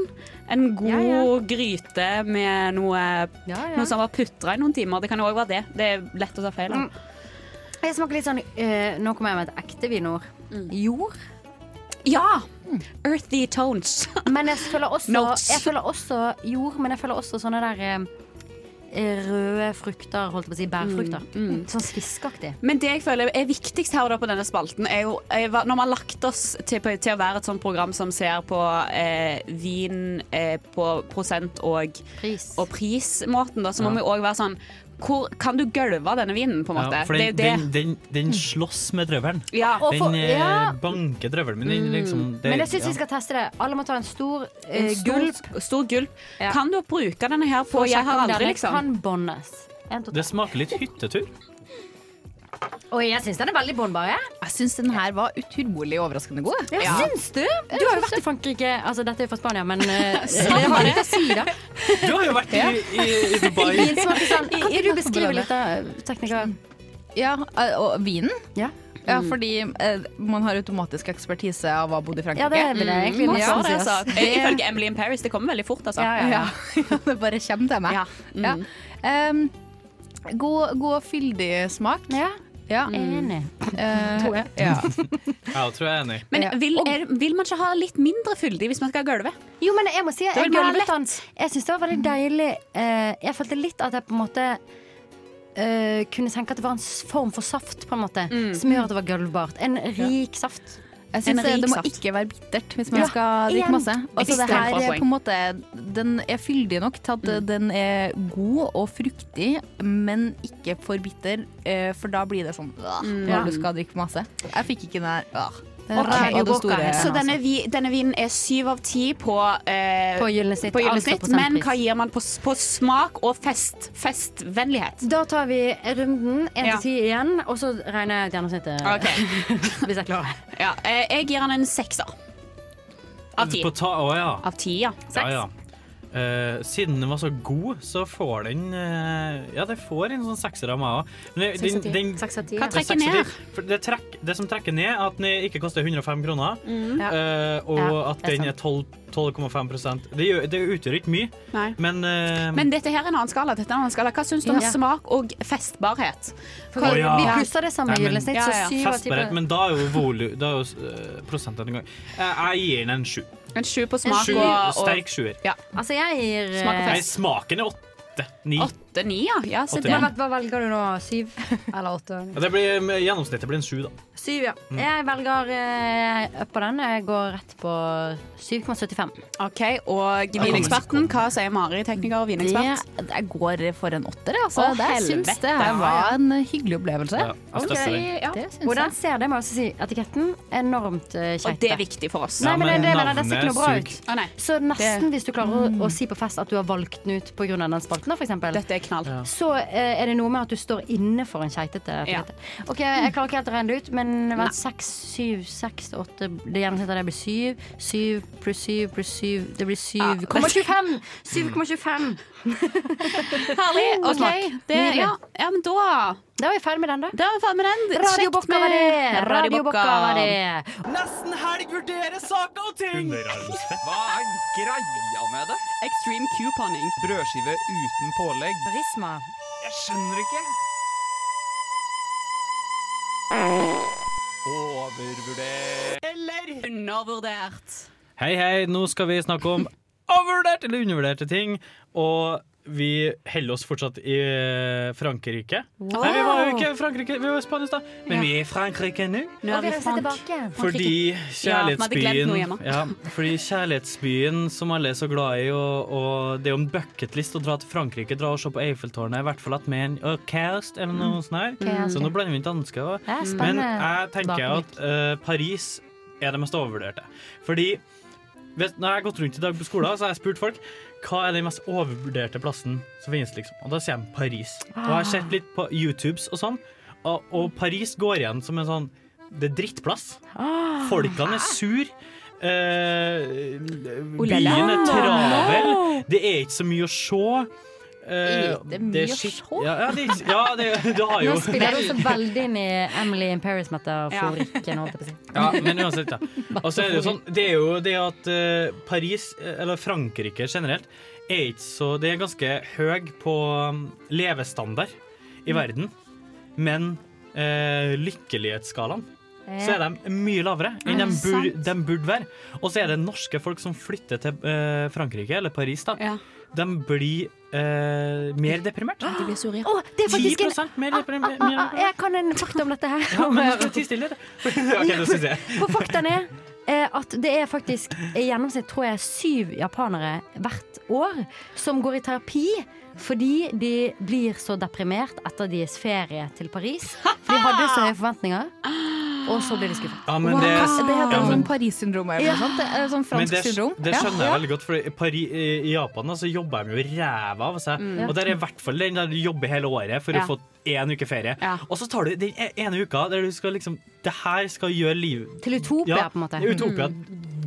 S4: En god
S2: Ja, ja.
S4: gryte med noe,
S2: Ja, ja.
S4: noe som var putra i noen timer. Det kan jo òg være det. Det er lett å ta feil av.
S2: Jeg smaker litt sånn eh, Nå kommer jeg med et ekte vinord. Jord.
S4: Ja! Earthy tones.
S2: Men jeg føler også,
S4: Notes.
S2: jeg føler også jord, men jeg føler også sånne der eh, røde frukter, holdt jeg på å si, bærfrukter. Sånn sviskeaktig.
S4: Men det jeg føler er viktigst her og da på denne spalten, er jo er hva- når vi har lagt oss til, på- til å være et sånt program som ser på eh, vin eh, på prosent og,
S2: Pris.
S4: og prismåten, da, så
S3: Ja.
S4: må vi òg være sånn hvor, Kan du gølve denne vinen, på en måte?
S3: Ja, for
S4: det er
S3: den,
S4: jo det.
S3: den, den, den slåss med drøvelen.
S4: ja.
S2: Og for-
S3: Den eh,
S2: ja. Mm.
S3: banker drøvelen min. Den, liksom, det,
S2: Men jeg syns
S3: ja.
S2: vi skal teste det. Alle må ta en stor eh,
S4: En stor,
S2: gulp.
S4: Stor gulp.
S2: Ja.
S4: Kan du bruke denne her på
S2: og
S4: Jeg
S2: sjekke
S4: har
S2: om
S4: aldri,
S2: denne
S4: liksom?
S2: Kan bondes. En, to, tre.
S3: det smaker litt hyttetur.
S2: Oi, jeg syns den er veldig bondbar. Jeg.
S8: Jeg syns den her var utrolig overraskende god.
S2: Ja. Syns du? Du har jo vært i Frankrike. Altså, dette er jo fra Spania, men
S8: *laughs*
S2: eh,
S8: Sånn.
S2: det har litt å si, da.
S3: Du har jo vært i, i, i
S2: *laughs*
S3: Dubai.
S2: Min smaker
S8: *laughs*
S2: sånn. Kan ikke du beskrive litt av teknikker?
S8: Ja, eh, Og vinen.
S2: Ja.
S8: Ja, fordi eh, man har automatisk ekspertise av å ha bodd i
S2: Ja,
S8: Frankrike.
S2: det vil jeg egentlig
S8: Mm,
S2: gjøre.
S4: Ja,
S8: ja,
S4: det,
S8: det,
S4: altså. Eh, Ifølge Emily in Paris. Det kommer veldig fort, altså.
S8: ja, *laughs* ja, *laughs* ja. det bare kommer til meg.
S4: Ja. Mm.
S8: Ja. Em, god, god og fyldig smak.
S2: Ja, Mm.
S8: Ja.
S2: enig.
S8: Eh, ja.
S3: Ja, jeg tror jeg er enig.
S4: Men
S8: Ja.
S4: vil, er, vil man ikke ha litt mindre fyldig hvis man skal gølve?
S2: Jo, men jeg må si
S4: var
S2: Jeg,
S4: veldig
S2: gulvet den. jeg syns det var veldig deilig. Eh, jeg følte litt at jeg på en måte eh, kunne tenke at det var en s- form for saft, på en måte. Som gjør at det var gulvbart. En rik saft.
S8: Jeg
S4: En
S8: synes det,
S4: rik
S8: det må
S4: saft.
S8: ikke være bittert hvis man
S2: Ja,
S8: skal drikke
S2: igjen.
S8: masse. Altså, det
S4: Ekstremt
S8: her
S4: bra
S8: er
S4: poeng.
S8: på en måte Den er fyldig nok til at den er god og fruktig, men ikke for bitter, eh, for da blir det sånn øh,
S2: Ja.
S8: når du skal drikke masse. Jeg fikk ikke den der øh.
S2: Ok,
S8: ræva det
S2: Yoko
S8: store.
S2: er
S4: Så denne, vi, denne vinen er syv av ti på, eh,
S2: På Gyllensnitt,
S4: på
S2: altså
S4: Gyllensnitt, men
S2: prosentpris.
S4: hva gir man på, s- på smak og fest, festvennlighet?
S2: Da tar vi runden én
S4: Ja.
S2: til ti igjen, og så regner jeg ut gjennomsnittet.
S4: Ok.
S2: *laughs*
S4: *laughs*
S2: Hvis jeg klarer.
S4: Ja, eh, jeg gir han en sekser. Av
S3: Altså
S4: ti.
S3: På ta, å, ja.
S4: Av ti, ja.
S3: Ja, ja. Eh, siden den var så god, så får den eh, Ja, det får en sånn sekser av meg òg. Den, den,
S2: Seks av ti.
S4: Hva
S2: ja.
S3: seks
S4: trekker
S3: av ti.
S4: ned?
S3: For Det, trekk, det som trekker ned, er at den ikke koster 105 kroner,
S4: Mm,
S2: Ja.
S3: eh, og
S2: Ja,
S3: at
S2: det er
S3: den er 12 12,5 Det, gjør- det utgjør ikke mye,
S4: Nei.
S3: men, eh,
S4: Men dette her er en annen skala. Dette er en annen skala. Hva syns du om
S2: Ja.
S4: smak og festbarhet?
S2: For
S3: Å, ja.
S2: Vi plusser det samme
S3: Nei, men-
S2: gyllensnitt,
S4: Ja,
S2: så
S4: ja.
S2: syv av ti.
S3: festbarhet, men da er jo, volu, da er jo eh, prosenten en gang. Eh, jeg gir den en sju.
S4: En sju på smak
S3: sju
S4: og, og
S3: sterk sjuer.
S2: Altså, jeg gir
S4: Smak og
S2: eh,
S3: Nei, smaken er åtte. Ni.
S4: åtte-ni, ja. ja så
S3: Åtte,
S4: det,
S3: ja.
S2: Hva velger du nå? Syv eller åtte? Mm.
S3: Ja, det blir, gjennomsnittet blir en sju, da.
S2: Syv, ja. Jeg velger eh, på den. Jeg går rett på 7,75.
S4: OK. Og vineksperten, hva sier Mari, tekniker og
S8: Det,
S4: vinekspert?
S8: jeg går for en åtter, jeg, altså.
S4: Å,
S8: jeg syns
S4: helvete,
S8: det her
S4: ja.
S8: var en hyggelig opplevelse.
S3: Ja, jeg støtter den.
S4: Ja.
S8: Det syns
S2: Hvordan
S8: jeg.
S2: ser det, må jeg også si. Etiketten enormt uh,
S4: Og det er viktig for oss.
S2: Nei,
S3: Ja,
S2: men,
S3: men
S2: det, mener jeg, det ser ikke noe bra
S3: navnet
S2: ut.
S4: Å nei,
S2: Så nesten hvis du klarer å, å si på fest at du har valgt den ut pga. den spalten, f.eks.
S4: dette er knall.
S3: Ja.
S2: Så eh, er det noe med at du står inne for en keitete etikette. Ok, Jeg klarer ikke helt å regne det ut, men vent, seks, syv, seks, åtte Det gjennomsnittet av det blir syv. Syv pluss syv pluss syv, det blir 7,25! 7,25!
S4: Herlig.
S2: og
S4: OK.
S2: smak.
S4: Det,
S2: Nydelig.
S4: ja, ja, men da
S2: Da var vi ferdig med den, da.
S4: Da var vi ferdig med den.
S2: Radiobokka var det. Radiobokka var det.
S9: Nesten helg vurderer saker og ting! Hva er greia med det?
S4: Extreme couponing.
S9: Brødskive uten pålegg.
S2: Prisma.
S9: Jeg skjønner ikke. Overvurdert.
S4: Eller undervurdert.
S3: Hei, hei, nå skal vi snakke om overvurderte eller undervurderte ting. Og vi holder oss fortsatt i eh, Frankrike.
S2: Wow.
S3: Nei, vi var jo ikke i Frankrike, vi var i Spania i stad. Men
S2: Ja.
S3: vi er i Frankrike nå.
S2: Nå er vi tilbake.
S3: Fordi
S4: Ja, vi hadde glemt
S3: kjærlighetsbyen
S4: noe
S3: ja,
S4: hjemme.
S3: Fordi kjærlighetsbyen som alle er så glad i, og, og det er jo en bucketlist å dra til Frankrike, dra og se på Eiffeltårnet, i hvert fall at med en og Kast
S4: Mm.
S3: eller noe sånt her.
S2: Kast, ja.
S3: Så nå blander vi inn dansker også.
S2: Ja, spennende.
S3: Men jeg tenker at eh, Paris er det mest overvurderte. Fordi vet, når jeg har gått rundt i dag på skolen, så har jeg spurt folk hva er den mest overvurderte plassen som finnes, liksom. Og da sier de Paris. Og jeg har sett litt på YouTubes og sånn, og, og Paris går igjen som en sånn det er drittplass.
S8: Ah.
S3: Folkene er sur. Eh, byen er travel. Det er ikke så mye å se. Eh,
S8: Er det mye å
S3: skitt-
S8: se?
S3: Ja, ja, det, er ikke- ja det, du har jo
S2: Nå spiller du også veldig inn i Emily in Paris-metaforikken. holdt jeg på å si.
S3: *laughs* Ja, men uansett, ja. Og så er det jo sånn Det er jo det at eh, Paris, eh, eller Frankrike generelt, er ikke så Det er ganske høy på um, levestandard
S8: Mm.
S3: i verden, men eh, lykkelighetsskalaen så er de mye lavere enn
S2: Er
S3: de
S2: det
S3: burde, de burde være. Og så er det norske folk som flytter til eh, Frankrike, eller Paris, da.
S4: Ja.
S3: De blir eh, mer deprimert.
S4: De blir sure,
S2: Eh, Å, det er faktisk en
S3: 10% mer deprimert.
S2: Ah, ah, ah, Jeg kan en fakta om dette her.
S3: Ja, men nå skal du tie stille, da. *laughs* OK, nå syns jeg
S2: For faktaen er eh, at det er faktisk i gjennomsnitt tror jeg syv japanere hvert år som går i terapi fordi de blir så deprimert etter deres ferie til Paris. For de hadde så høye forventninger, og så ble de skuffet.
S3: Ja, men det,
S8: Det heter
S3: ja, men,
S8: sånn Paris-syndromet eller noe sånt. Det er Sånn
S3: men
S8: fransk
S3: det,
S8: syndrom.
S3: det
S8: Ja.
S3: skjønner jeg veldig godt, for i, Pari, i Japan da, så jobber de jo ræva av seg.
S2: Mm.
S3: Og der er i hvert fall den der du jobber hele året for
S4: Ja.
S3: å få én uke ferie.
S4: Ja.
S3: Og så tar du den e- ene uka der du skal liksom Det her skal gjøre livet
S2: Til Utopia, på en måte.
S3: det er Utopia.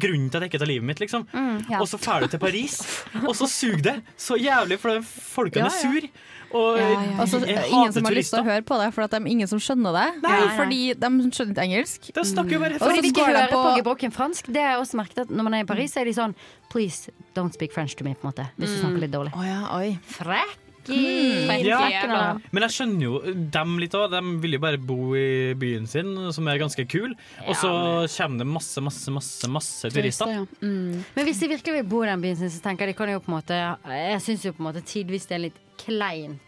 S3: Grunnen til at jeg ikke tar livet mitt, liksom.
S2: ja.
S3: Og så drar du til Paris, og så suger det så jævlig, for de folkene
S8: Ja,
S3: er
S8: ja.
S3: sur. Og
S8: Og så
S3: jeg
S8: Altså, eh, ingen som
S3: hater
S8: har lyst til
S3: turister.
S8: å høre på deg, for at det er ingen som skjønner deg.
S2: Nei.
S8: Fordi de skjønner ikke engelsk.
S3: Da snakker jo bare
S8: Og
S2: Fordi
S8: så
S2: de ikke
S8: går de
S2: hører på
S8: på-
S2: gebrokken fransk. Det har jeg også merket at Når man er i Paris, så er de sånn Please don't speak French to me, på en måte. Hvis du snakker litt dårlig.
S8: Å ja, oi.
S2: Frekki!
S3: Ja.
S2: Frekken, da.
S3: Men jeg skjønner jo dem litt òg. De vil jo bare bo i byen sin, som er ganske kul. Og så kommer det masse, masse, masse masse turister.
S4: ja. Mm.
S2: Men hvis de virkelig vil bo i den byen sin, så tenker jeg de kan jo på en måte Jeg syns jo på en måte tidvis det er litt kleint.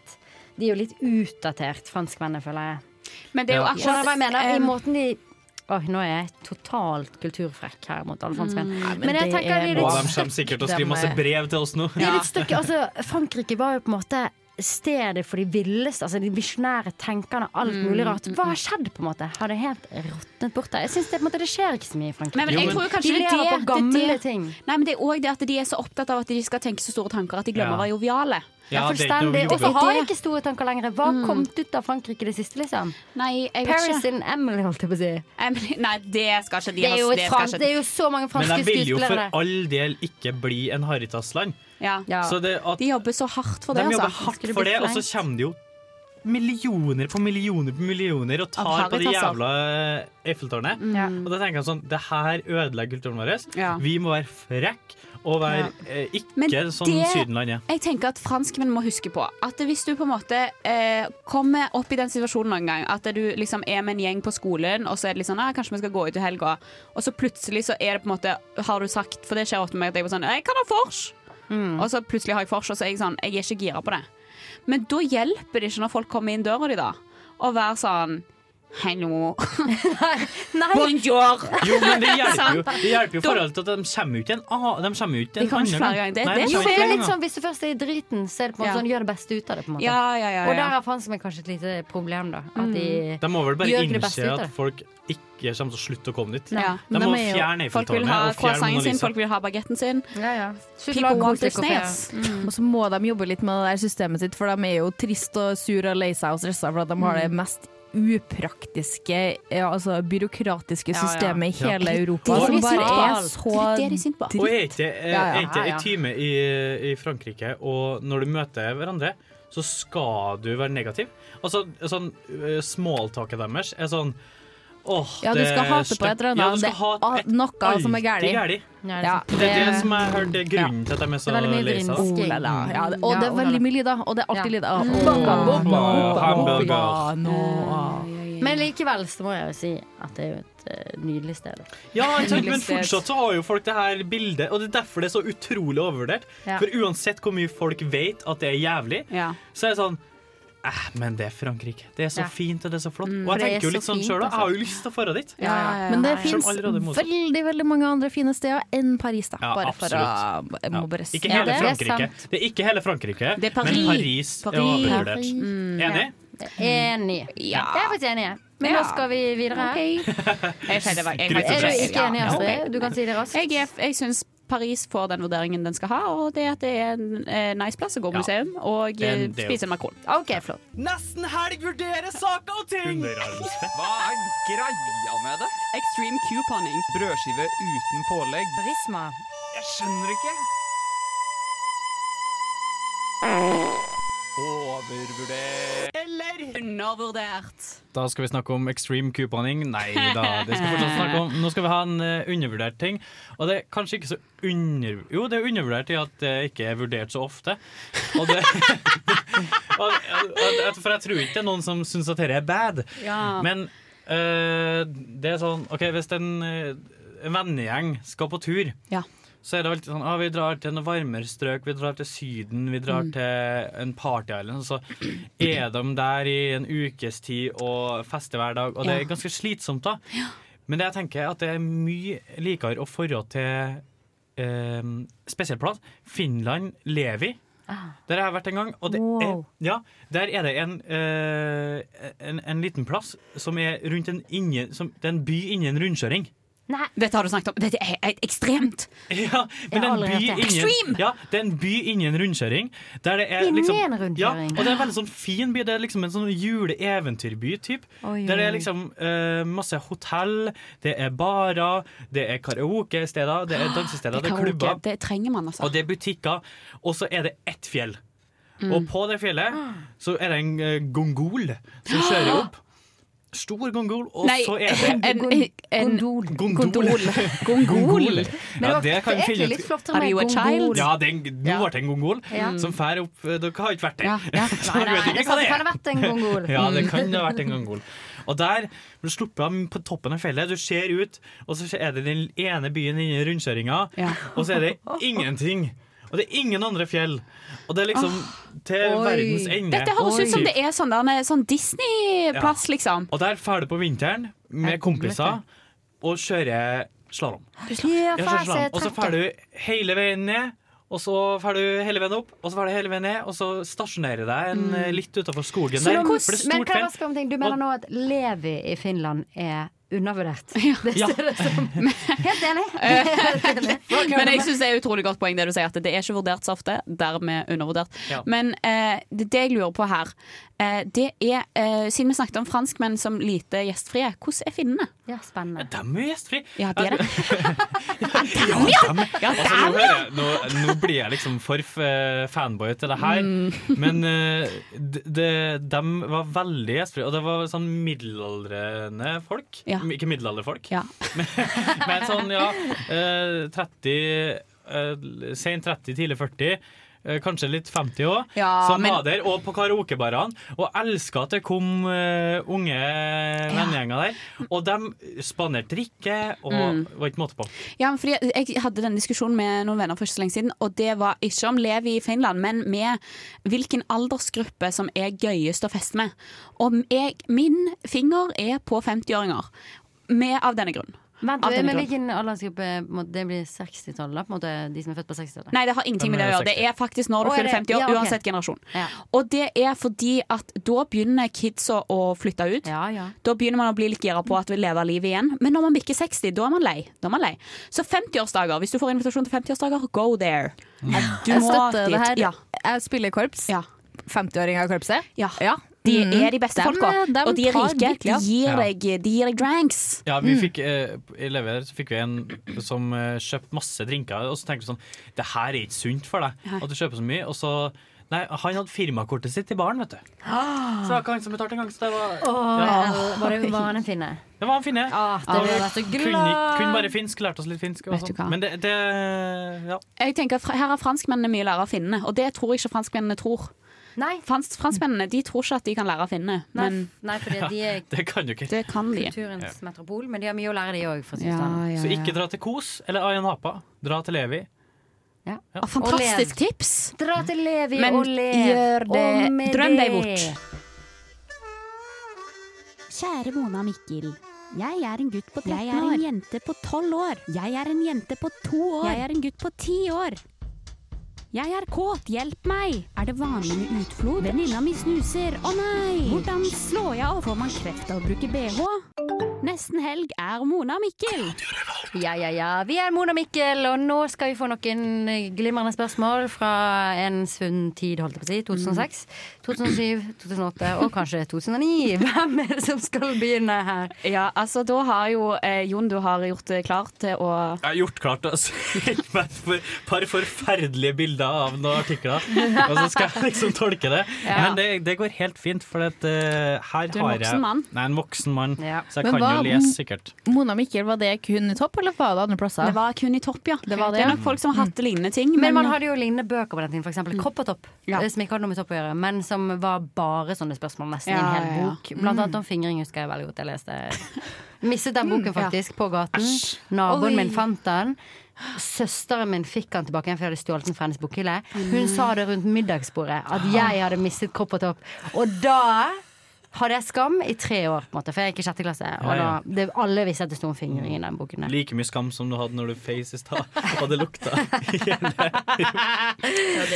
S2: De er jo litt utdatert, franskmennene, føler jeg.
S4: Men det er jo
S3: Ja.
S4: akkurat
S2: Skjønner du hva jeg mener? I
S4: em,
S2: måten de Åh, nå er jeg totalt kulturfrekk her mot alle
S4: Mm.
S2: franskmenn. men,
S8: men
S2: jeg
S8: det
S2: tenker de
S8: er
S2: er
S3: Og
S8: lov.
S2: litt
S3: de
S2: støkk.
S3: kommer sikkert til å skrive
S8: Dem er-
S3: masse brev til oss nå.
S2: De er litt støkk. Altså, Frankrike var jo på en måte stedet for de villeste, altså de visjonære tenkerne, alt
S4: Mm.
S2: mulig rart. Hva har skjedd, på en måte? Har det helt råtnet bort der? Jeg synes det, på en måte, det skjer ikke så mye i Frankrike.
S4: Nei, men
S3: Jo,
S4: jeg
S3: men-
S4: tror jo
S2: de
S4: kanskje det er
S2: lever
S4: det,
S2: på gamle
S4: det, er det.
S2: ting.
S4: Nei, men det er òg det at de er så opptatt av at de skal tenke så store tanker at de glemmer
S3: Ja.
S4: å være joviale.
S3: Ja, det er ikke noe
S2: Fullstendig.
S3: vi
S2: Og så
S3: gjorde.
S2: har jeg ikke store tanker lenger. Hva har kommet ut av Frankrike i det siste, liksom?
S4: Nei, Mm. jeg vet
S2: Paris
S4: ikke.
S2: in Emily, holdt jeg på å si.
S4: Em, Nei, det skal ikke de
S2: Det er jo,
S4: ha-
S2: et
S4: skal
S2: fransk,
S4: ikke
S2: det er jo så mange
S3: Men
S2: franske
S3: de vil jo for
S2: skuespillere der.
S3: all del ikke bli en Haritas-land.
S4: Ja.
S2: Ja.
S3: Så det at
S4: De jobber så hardt for
S3: de
S4: det,
S3: jobber
S4: altså.
S3: hardt
S2: Skulle
S3: for
S2: bli
S3: det, og så
S2: slengt.
S3: kommer det jo millioner på millioner på millioner og tar
S4: Av
S3: på det
S4: Haritas, altså. Mm.
S3: jævla eh, Eiffeltårnet.
S2: Ja.
S3: Og da tenker jeg sånn, det her ødelegger kulturen vår.
S4: Ja.
S3: Vi må være frekk og være eh, ikke
S4: Men
S3: sånn
S4: det-
S3: Sydenland er.
S4: Jeg tenker at franskmenn må huske på at hvis du på en måte eh, kommer opp i den situasjonen noen gang, at du liksom er med en gjeng på skolen, og så er det litt sånn ah, 'Kanskje vi skal gå ut i helga', og så plutselig så er det på en måte Har du sagt For det skjer ofte med meg at jeg er sånn 'Jeg kan ha vors', og så plutselig har jeg vors, og så er jeg sånn Jeg er ikke gira på det. Men da hjelper det ikke når folk kommer inn døra di, da, og være sånn *laughs* 'Hallo,
S2: Nei,
S4: bonjour'.
S3: Jo, men det
S4: *laughs*
S3: hjelper jo Det hjelper jo i forhold til at de kommer jo ikke en annen De kommer jo ikke en
S4: De kommer
S3: annen
S4: ikke flere
S3: gang.
S4: ganger. Det-
S3: Nei,
S4: det
S3: de
S2: jo,
S3: kommer
S2: det er
S3: ikke flere
S2: litt
S3: ganger.
S2: sånn hvis du først er i driten, så er det på en måte
S4: Ja.
S2: sånn gjør det beste ut av det, på en måte.
S4: Ja, ja, ja.
S2: Og der
S4: ja. Mm.
S2: har franskmenn kanskje et lite problem, da. At de
S3: De må vel bare
S2: Gjør det beste ut
S3: innse
S2: av
S3: at
S2: det.
S3: folk ikke kommer til å slutte å komme dit.
S4: ja.
S3: De
S8: Men
S3: må
S8: de er jo-
S3: fjerne
S4: Folk vil
S3: Eiffeltårnet
S4: ha
S3: og fjerne
S4: croissanten
S3: Mona
S4: sin,
S3: Lisa.
S4: folk vil ha baguetten sin.
S2: ja, ja.
S4: People want their snails.
S3: Mm.
S4: Mm.
S8: Og så må de jobbe litt med det der systemet sitt, for de er jo trist og sur og lei seg og stressa for at de har det mest upraktiske, ja, altså byråkratiske
S2: Ja, ja.
S8: systemet i hele Europa,
S2: Det er
S8: som
S2: det de
S8: bare
S2: syns på.
S8: er så
S4: Det er det de syns på.
S3: Og er ikke det
S8: Ja, ja,
S3: er ikke
S2: ja,
S3: det
S2: ja.
S3: en time i, i Frankrike, og når du møter hverandre, så skal du være negativ. Altså, sånn, eh, Smalltalket deres er sånn Åh,
S8: Ja, du
S3: det
S8: skal
S3: er
S8: hate på
S3: stygt.
S8: et eller annet.
S3: Ja, du skal
S8: Det er
S3: hate
S8: al-
S3: et-
S8: noe som er
S3: alltid
S8: gærlig.
S3: gærlig.
S8: Ja, det er sant.
S3: Det er
S8: Det-
S3: det som jeg hørte er grunnen til at de er så
S8: Det er veldig mye
S3: lei seg.
S8: vrinsk. Ola, da. Ja, det- og det er
S3: Ja,
S8: veldig mye lyder, og det er alltid lyder. av-
S3: Bamba, bamba, hamburger.
S8: bamba, nå.
S2: Men likevel så må jeg jo si at det er jo et eh, nydelig sted.
S3: Ja, ikke sant, men
S2: Nydelig sted.
S3: fortsatt så har jo folk det her bildet, og det er derfor det er så utrolig overvurdert.
S2: Ja.
S3: For uansett hvor mye folk vet at det er jævlig, så er det sånn eh, men det er Frankrike. Det er så
S8: Ja.
S3: fint og det er så flott.
S8: Mm,
S3: og
S8: for
S3: jeg
S8: det
S3: tenker jo
S8: er så
S3: litt sånn
S8: fint,
S3: sjøl òg. Jeg
S8: altså.
S3: har jo lyst til å dra dit.
S8: Men det
S3: Selv om
S8: fins
S3: allerede er motsatt.
S8: veldig veldig mange andre fine steder enn Paris, da.
S3: Ja,
S8: Bare for å
S3: absolutt.
S8: jeg må bare si
S3: Ikke hele
S8: det.
S3: Frankrike. Det er ikke hele Frankrike,
S8: Det er Paris.
S3: men Paris,
S8: Paris.
S3: er overvurdert.
S8: Paris.
S2: Mm,
S3: Enig?
S2: Enig.
S3: Ja.
S2: Det er jeg faktisk enig i. Men
S4: Ja.
S2: nå skal vi videre. Er du
S3: *laughs*
S4: Er
S2: ikke enig, Astrid? Du kan si det raskt.
S4: Jeg, er- jeg syns Paris får den vurderingen den skal ha, og det er at det er en eh, nice plass å gå på
S3: Ja.
S4: museum og
S3: Det er
S4: eh,
S3: en- det er jo-
S4: spise en makron.
S2: OK, flott.
S9: Nesten helg vurderer saker og ting! Hva er greia med det?
S4: Extreme couponing.
S9: Brødskive uten pålegg.
S2: Prisma.
S9: Jeg skjønner ikke. Overvurdert.
S4: Eller undervurdert.
S3: Da skal vi snakke om extreme couponing. Nei da, det
S2: *laughs*
S3: skal vi fortsatt snakke om. Nå skal vi ha en eh, undervurdert ting. Og det er kanskje ikke så under... Jo, det er undervurdert i at det ikke er vurdert så ofte. Og det... og, og- og- for jeg tror ikke det er noen som syns at dette er bad.
S4: Ja.
S3: Men eh, det er sånn OK, hvis en, eh, en vennegjeng skal på tur
S4: Ja.
S3: så er det alltid sånn ah, Vi drar til noen varmere strøk, vi drar til Syden, vi drar til en party island. Så er de der i en ukes tid og fester hver dag, og det
S4: Ja.
S3: er ganske slitsomt, da. Men det jeg tenker er at det er mye likere å forå til eh, spesiell plass. Finland, Levi.
S2: Ah.
S3: Der har jeg vært en gang, og det er,
S10: Wow.
S3: ja, der er det en, eh, en, en liten plass som er rundt en inne, som, det er en by inni en rundkjøring.
S4: Dette har du snakket om. Dette er helt ekstremt.
S3: *laughs* Ja, men
S4: Jeg
S3: det er
S4: har
S3: en
S4: aldri
S3: by
S4: hørt
S3: inni-
S4: det. Extreme!
S3: Ja, det er en by inni en rundkjøring. Der det er
S4: Inni
S3: liksom,
S4: en rundkjøring?
S3: Ja, og det er en veldig sånn fin by. Det er liksom en sånn juleeventyrby, typ.
S10: Oi,
S3: Der det er
S10: oi.
S3: liksom eh, masse hotell, det er barer, det er karaokesteder, det er dansesteder, det er
S4: karaoke.
S3: klubber.
S4: Det trenger man, altså.
S3: Og det er butikker. Og så er det ett fjell.
S4: Mm.
S3: Og på det fjellet så er det en eh, gongol som kjører opp. Stor gongol, og
S4: Nei,
S3: så er det
S4: en- en- en- Gondol.
S3: *laughs* Gondol.
S4: Gongol.
S3: Men *laughs* Ja, det kan vi finne ut.
S4: Are you a child?
S3: Ja, det er en, nå ble det en gongol
S2: Ja.
S3: som fær opp eh, Dere har ikke vært der. *laughs* Så
S2: Nei, nei,
S3: dere vet ikke
S2: det
S3: hva
S2: kan ha vært
S3: *laughs*
S2: en gongol.
S3: ja, det
S2: Mm.
S3: kan ha vært en gongol. Og der blir du sluppet av på toppen av fjellet. Du ser ut, og så er det den ene byen inni rundkjøringa, og så er det ingenting. Og det er ingen andre fjell. Og det er liksom til
S4: Oi.
S3: verdens ende.
S4: Dette høres ut som det er sånn, der- sånn Disney-plass, liksom.
S3: Og der drar du på vinteren med
S4: Jeg
S3: kompiser
S4: googlet
S3: og kjører slalåm.
S2: Ja,
S3: Ja,
S2: faen,
S3: så
S2: så
S3: slam.
S2: jeg
S3: Og så
S2: trakk
S3: fer
S2: det.
S3: du hele veien ned, og så fer du hele veien opp, og så fer du hele veien ned, og så stasjonerer deg en,
S2: Mm.
S3: eh, litt utafor skogen
S2: Så
S3: der.
S2: nå-
S3: For det er
S2: Men kan jeg
S3: stort
S2: bare
S3: fjell.
S2: spørre om en ting? Du mener nå at Levi i Finland er undervurdert? Det
S4: Ja.
S2: ser det som. *laughs* Helt enig.
S4: *laughs*
S2: Helt enig.
S4: Men jeg syns det er et utrolig godt poeng det du sier, at det er ikke vurdert så ofte. Dermed undervurdert.
S2: Ja.
S4: Men eh, det, det jeg lurer på her, eh, det er eh, Siden vi snakket om franskmenn som lite gjestfrie, hvordan er finnene?
S2: Ja, spennende.
S3: De er jo gjestfrie.
S4: Ja, de er det.
S3: Altså, nå, hører jeg, nå, nå blir jeg liksom for f- fanboy til det her,
S4: Mm.
S3: *laughs* men eh, d- det- de var veldig gjestfrie. Og det var sånn middelaldrende folk.
S4: Ja.
S3: M- Ikke middelalderfolk,
S4: Ja.
S3: men sånn, ja eh, 30 uh, Sent 30, tidlig 40. eh, Kanskje litt 50 òg,
S4: Ja,
S3: som
S4: men-
S3: var der, og på karaokebarene. Og elska at det kom eh, unge vennegjenger der. Og de spanderte drikke, og
S4: Mm.
S3: var ikke måte på.
S4: Ja, men fordi Jeg hadde denne diskusjonen med noen venner for ikke så lenge siden, og det var ikke om Levi i Finland, men med hvilken aldersgruppe som er gøyest å feste med. Og jeg, min finger er på 50-åringer, med av denne grunn.
S2: Vent,
S4: Av denne
S2: men
S4: grunn.
S2: hvilken aldersgruppe på en måte, Det blir 60-tallet, da, på en måte, de som er født på 60-tallet?
S4: Nei, det har ingenting med det å gjøre. Det er faktisk når du
S2: Å, er
S4: fyller
S2: det-
S4: 50 år,
S2: ja, ok.
S4: uansett generasjon.
S2: Ja.
S4: Og det er fordi at da begynner kidsa å flytte ut. Da begynner man å bli litt gira på at vi lever livet igjen. Men når man bikker 60, da er man lei. Da er man lei. Så 50-årsdager, hvis du får invitasjon til 50-årsdager, go there. Du
S8: Jeg
S4: må
S8: støtter
S4: dit.
S8: det her.
S4: Ja.
S8: Jeg spiller korps. 50-åringer i korpset. Mm-hmm.
S4: Ja. De er de beste
S8: Dem,
S4: folka.
S8: dem
S4: Og de er
S8: tar
S4: rike. De
S8: virkelig, ass.
S4: gir,
S3: Ja.
S4: deg, de gir deg dranks.
S3: Ja, vi fikk, eh, I Lever så fikk vi en som eh, kjøpte masse drinker, og så tenkte vi sånn Det her er ikke sunt for deg,
S4: Nei.
S3: at du kjøper så mye. Og så Nei, han hadde firmakortet sitt til baren, vet du. Så det var ikke han som betalte engang. Så det var
S2: Åh, var det- var han en finne?
S3: Det var en finne.
S2: Ah, det
S3: Og
S2: vil jeg være så
S3: kunne-
S2: glad.
S3: Kunne bare finsk, lærte oss litt finsk. og
S4: Vet du
S3: sånn.
S4: hva?
S3: Men det, det ja.
S4: Jeg tenker at fra- Her har franskmennene mye å lære av finnene, og det tror jeg ikke franskmennene tror. Frans, franskmennene de tror ikke at de kan lære av finnene,
S2: Nei,
S4: men
S2: nei fordi de er
S3: Det kan du ikke.
S4: det kan de.
S2: kulturens metropol, men de har mye å lære, de òg.
S4: Ja, ja,
S3: Så
S4: ja.
S3: ikke dra til Kos eller Ayan Hapa. Dra til Levi.
S4: Ah, Fantastisk tips!
S2: Dra til Levi
S4: Men
S2: og lev.
S4: gjør det-
S2: Og med
S4: drøm deg
S2: det.
S4: bort. Kjære Mona og Mikkel.
S10: Jeg er en gutt på 13 år.
S5: Jeg er en
S10: jente på 12 år. Jeg er en jente på 2 år. Jeg er en gutt på 10 år. Jeg er kåt, hjelp meg! Er det vanlig med utflod? Venninna mi snuser, å nei! Hvordan slår jeg av? Får man kreft av å bruke bh? Nesten helg er Mona og Mikkel.
S2: Ja, ja, ja. Vi er Mona og Mikkel, og nå skal vi få noen glimrende spørsmål fra en svunnen tid, holdt jeg på å si. 2006, 2007, 2008 og kanskje 2009. Hvem er det som skal begynne her?
S4: Ja, altså da har jo eh, Jon, du har gjort det klart til å
S3: Jeg har gjort klart altså, et par- par forferdelige bilder av noen artikler. Og så skal jeg liksom tolke det.
S4: Ja.
S3: Men det, det går helt fint, for at, eh, her
S8: Du er en
S3: har jeg
S8: voksen mann.
S3: Nei, en voksen mann. Så jeg
S8: Men
S3: kan
S8: hva-
S3: jo lese, sikkert.
S8: Mona Mikkel, var det kun i topp, eller var det andre plasser?
S4: Det var Mm. kun i topp, ja.
S8: Det, var det,
S2: Det er
S8: ja.
S2: nok
S4: folk som har hatt lignende ting.
S2: Men,
S8: men-
S2: man hadde jo lignende bøker på den tiden, f.eks.
S4: Mm.
S2: Kropp og topp, eh, som ikke hadde noe med topp å gjøre, men som var bare sånne spørsmål, nesten i en
S4: Ja,
S2: hel
S4: ja, ja.
S2: bok. Blant annet om fingring husker jeg veldig godt. Jeg leste
S4: *laughs*
S2: Mistet den boken,
S4: Mm, ja.
S2: faktisk, på gaten. Naboen
S4: Oi.
S2: min fant den. Søsteren min fikk den tilbake igjen, for jeg hadde stjålet den fra hennes bokhylle. Hun
S4: Mm.
S2: sa det rundt middagsbordet, at jeg hadde mistet kropp og topp. Og da hadde jeg skam i tre år, på en måte, for jeg gikk i sjette klasse. Og
S3: Ja,
S2: da,
S3: ja.
S2: det, alle visste at det sto en fingring i den boken. der.
S3: Like mye skam som du hadde når du feis i stad, og det
S8: *laughs*
S3: lukta.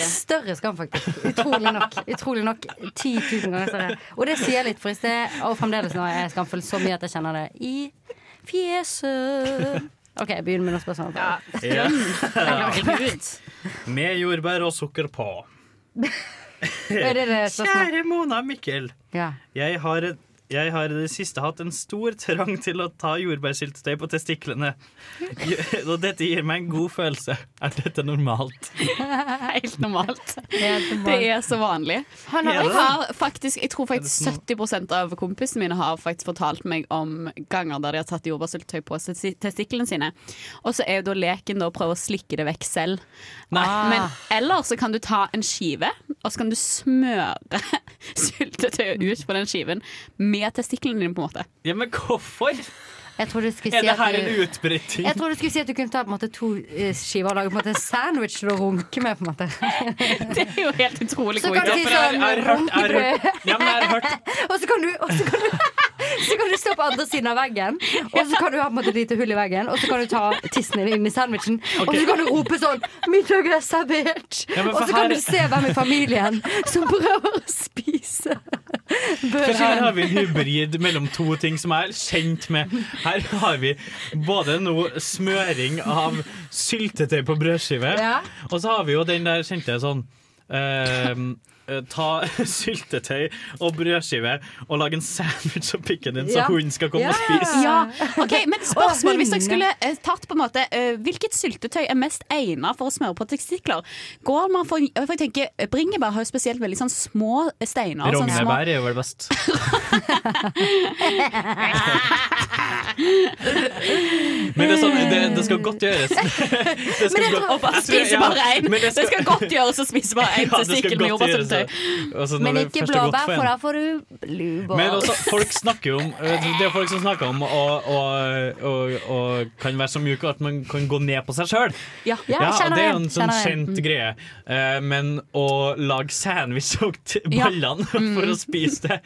S2: Større skam, faktisk. Utrolig nok. Utrolig nok 10 000 ganger større. Og det sier jeg litt for i sted, og fremdeles nå er jeg skamfull så mye at jeg kjenner det i fjeset. OK, jeg begynner med noen spørsmål.
S3: Ja.
S2: Herregud.
S3: Med jordbær og sukker på.
S2: Er det det spørsmålet?
S3: Kjære Mona og Mikkel.
S2: Ja.
S3: Jeg har, jeg har i det siste hatt en stor trang til å ta jordbærsyltetøy på testiklene. Gjø- Og dette gir meg en god følelse. Er dette normalt?
S4: Helt normalt.
S3: normalt.
S4: Det er så vanlig.
S3: Han har-
S4: jeg, har faktisk, jeg tror faktisk 70 av kompisene mine har faktisk fortalt meg om ganger der de har tatt jordbærsyltetøy på testi- testiklene sine. Og så er jo da leken da å prøve å slikke det vekk selv. Ah.
S3: Nei.
S4: Men eller så kan du ta en skive, og så kan du smøre *laughs* syltetøyet ut på den skiven med testiklene dine, på en måte. *laughs*
S3: Ja, men hvorfor?
S2: Jeg trodde du skulle
S3: Er
S2: si
S3: det
S2: at
S3: her en
S2: du
S3: utbryting?
S2: jeg trodde du skulle si at du kunne ta på en måte to eh, skiver og lage på en måte en sandwich til å runke med. på en måte
S4: Det er jo helt utrolig
S2: Så
S4: god
S2: kan du
S4: idé.
S2: si sånn runkebrød.
S3: Ja, men jeg har hørt
S2: *laughs* Og så kan du, *laughs* og så kan du så kan du stå på andre siden av veggen, og så kan du ha på en måte et lite hull i veggen, og så kan du ta tissen din inn i sandwichen, og
S8: Ok.
S2: så kan du rope sånn 'Middag er servert!'
S8: Ja, men
S2: og
S8: for
S2: så kan
S8: her-
S2: du se hvem i familien som prøver å spise
S3: For her har
S2: børsen.
S3: vi en hybrid mellom to ting som jeg er kjent med. Her har vi både noe smøring av syltetøy på brødskive,
S2: Ja.
S3: og så har vi jo den der kjente sånn eh, eh, ta *laughs* syltetøy og brødskive og lage en sandwich og pikke den, så
S4: Ja.
S3: hunden skal komme og
S4: Ja.
S3: spise.
S2: *laughs*
S4: Ja. Ok, men spørsmål Hvis dere
S3: hundene.
S4: skulle eh, tatt på en måte eh, Hvilket syltetøy er mest egnet for å smøre på testikler? Går man for, for jeg tenker eh, Bringebær har jo spesielt veldig sånn små steiner sånn små-
S3: Rognebær er jo vel
S4: *laughs*
S3: best. Men det, er sånn, det, det skal godt gjøres. *laughs* Det
S4: Men jeg
S3: godt-
S4: tror- og bare
S3: Jeg tror-
S4: spise
S3: ja,
S4: bare en.
S3: men
S4: Det skal godt gjøres å spise bare
S3: *laughs* Ja,
S4: en
S3: det skal
S4: testikkel med
S3: godt gjøres,
S4: jordbærsyltetøy.
S3: ja. Altså, når
S2: Men
S3: det
S2: ikke
S3: først er godt
S2: blåbær,
S3: for en.
S2: for da får du blubber.
S3: Men også, folk snakker jo om eh, Det er folk som snakker om å, å, å, å kan være så mjuk at man kan gå ned på seg sjøl.
S4: Ja. Ja,
S3: og
S4: kjenner
S3: det er
S4: jeg.
S3: jo en sånn
S4: Kjenner Mm. jeg.
S3: kjent greie. Eh, men å lage sandwich og t-
S4: Ja. Mm.
S3: ballene *laughs* for å spise det,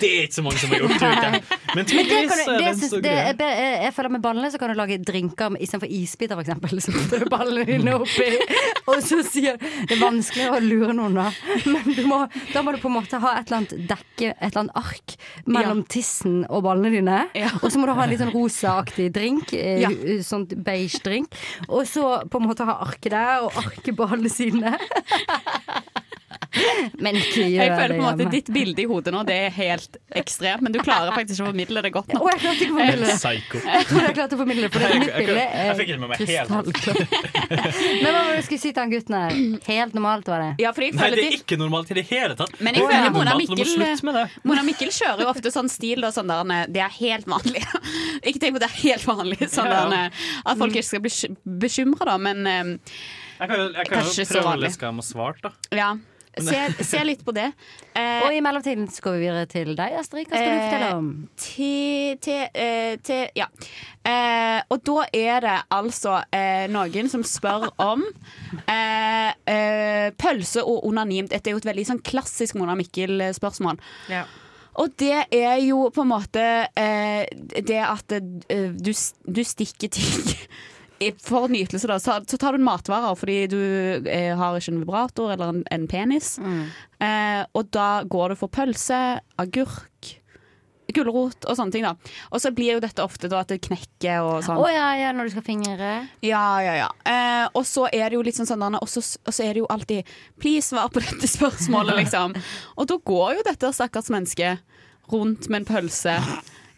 S3: det er ikke så mange som har gjort.
S4: *laughs*
S3: tror jeg. Men
S2: Men det
S3: tydeligvis
S2: kan du,
S3: er det
S2: det
S3: en
S2: syns,
S3: stor
S2: det
S3: greie.
S2: er, be- eh, jeg føler med ballene så kan du lage drinker istedenfor isbiter, for eksempel. *laughs* Så putter du ballene dine oppi,
S4: *laughs*
S2: og så sier Det er vanskelig å lure noen, da. Men du må, da må du på en måte ha et eller annet dekke, et eller annet ark, mellom tissen og ballene dine. Og så må du ha en litt sånn rosaaktig drink, eh,
S4: Ja.
S2: sånn beige drink.
S4: *laughs*
S2: Og så på en måte ha arket der, og arket på alle sidene. Men ikke gjør
S4: Jeg føler på en
S2: det,
S4: måte
S2: Janne.
S4: ditt bilde i hodet nå, det er helt ekstremt, men du klarer faktisk ikke å formidle det godt
S2: Å,
S4: nok.
S2: jeg klarte ikke å formidle det.
S3: Psycho.
S2: Jeg tror jeg klarte å formidle det, for det
S3: Jeg-
S2: mitt
S3: jeg-
S2: bilde
S3: jeg- jeg fikk det med meg helt.
S2: Men hva var det du skulle si til han gutten her? Helt normalt, var det?
S3: Nei, det er ikke normalt i det hele tatt.
S4: Men jeg
S3: Det er
S4: føler Mona
S3: unormalt, du må
S4: Mikkel, eh,
S3: slutte med det.
S4: Mona Mikkel kjører jo ofte sånn stil da, sånn der, eh, det er helt vanlig. *laughs* ikke tenk på det er helt vanlig, sånn
S3: Ja, ja.
S4: der, eh, at folk ikke skal bli bekymra, da, men eh,
S3: Jeg kan, jo- jeg kan
S4: Kanskje
S3: jo
S4: så
S3: prøve å
S4: vanlig.
S3: lese hva de har svart, da.
S4: ja. Se, se litt på det. Eh,
S2: Og i mellomtiden så går vi videre til deg, Astrid. Hva skal du fortelle om?
S4: Til, til, eh, til Ja. Eh, og da er det altså eh, noen som spør om eh, eh, pølse og onani. Dette er jo et veldig sånn klassisk Mona Mikkel-spørsmål. Og det er jo på en måte eh, det at eh, du, s- du stikker ting i- For nytelse, da. Så, så tar du en matvare fordi du eh, har ikke en vibrator eller en, en penis.
S2: mm.
S4: Eh, og da går du for pølse, agurk, gulrot og sånne ting, da. Og så blir jo dette ofte da at det knekker og
S2: Å
S4: sånn.
S2: ja, ja, når du skal fingre.
S4: Ja, ja, ja. Eh, og så er det jo litt sånn sånn Anna, og så, og så er det jo alltid Please, svar på *laughs* dette spørsmålet,
S2: *laughs*
S4: liksom. Og da går jo dette stakkars mennesket rundt med en pølse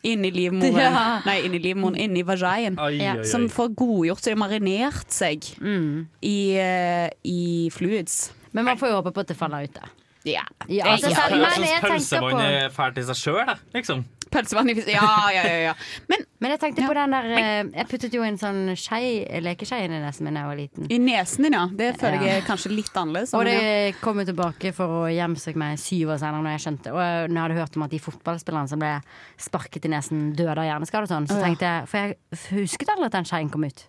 S4: inni livmoren.
S2: Ja.
S4: Nei, inni livmoren, inni vaginen.
S2: Ai, ai, ai.
S4: Som får godgjort seg og marinert seg
S2: Mm.
S4: i, eh, i fluids.
S2: Men man får jo håpe på at det faller ut, da.
S4: Ja.
S2: Ja,
S4: Jeg-
S2: altså,
S4: ja.
S2: selv-
S3: Jeg
S2: men jeg
S3: syns
S2: tenker på
S3: pølsevann er fælt i seg sjøl, da, liksom.
S4: Pølsevann i Ja, ja, ja. ja. Men,
S2: jeg tenkte på den der eh, Jeg puttet jo en sånn skei, lekeskei inn i nesen min da jeg var liten.
S4: I nesen din, ja. Det føler
S2: Ja.
S4: jeg er kanskje litt annerledes.
S2: Og
S4: men ja.
S2: det kom jo tilbake for å hjemsøke meg syv år senere, når jeg skjønte Og når jeg hadde hørt om at de fotballspillerne som ble sparket i nesen, døde av hjerneskade og sånn, så
S4: Å, ja.
S2: tenkte jeg For jeg husket aldri at den skeien kom ut.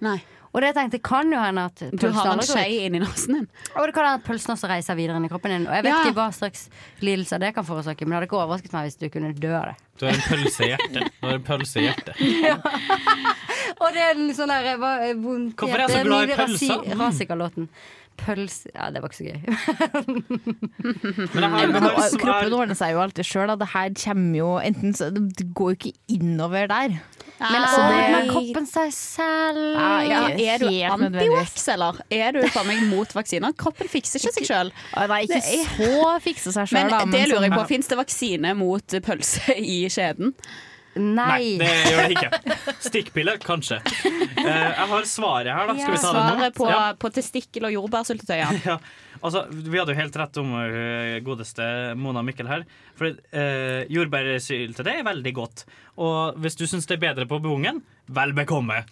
S4: Nei.
S2: Og det tenkte jeg kan jo hende at
S4: Du har en
S2: aldri går ut.
S4: skje inni nesen din.
S2: Og det kan hende at pølsen også reiser videre inn i kroppen din. Og jeg vet
S4: Ja.
S2: ikke hva slags lidelser det kan forårsake, men det hadde ikke overrasket meg hvis du kunne dø av det.
S3: Du har en pølse i hjertet. Du har en pølse i hjertet.
S4: Mm.
S2: Og det er en sånn der eh, hva- eh, vondt
S3: Hvorfor er jeg så glad i pølser? Mm.
S2: Rasikalåten. Pølse Ja, det var ikke så *laughs* gøy.
S3: Men jeg har- jeg har- jeg har-
S8: Kroppen ordner seg jo alltid sjøl. Det her kommer jo enten så, Det går jo ikke innover der.
S2: Men
S4: Ah.
S2: ordner kroppen seg selv?
S4: Ja, er du
S8: helt
S4: antivax, eller? Er du for meg mot vaksiner? Kroppen fikser ikke seg sjøl.
S8: Nei, ikke så fikse seg sjøl,
S4: Men
S8: da.
S4: det lurer jeg på,
S8: sånn-
S4: fins det vaksine mot pølse i skjeden?
S3: Nei, det gjør det ikke. Stikkpille, kanskje. Eh, jeg har svaret her, da. Skal vi ta det nå?
S4: Svaret på,
S3: Ja.
S4: på testikkel- og jordbærsyltetøy. ja.
S3: Ja, altså, vi hadde jo helt rett om eh, godeste Mona Mikkel her. For uh, jordbærsyltetøy er veldig godt. Og hvis du syns det er bedre på bungen, vel bekomme.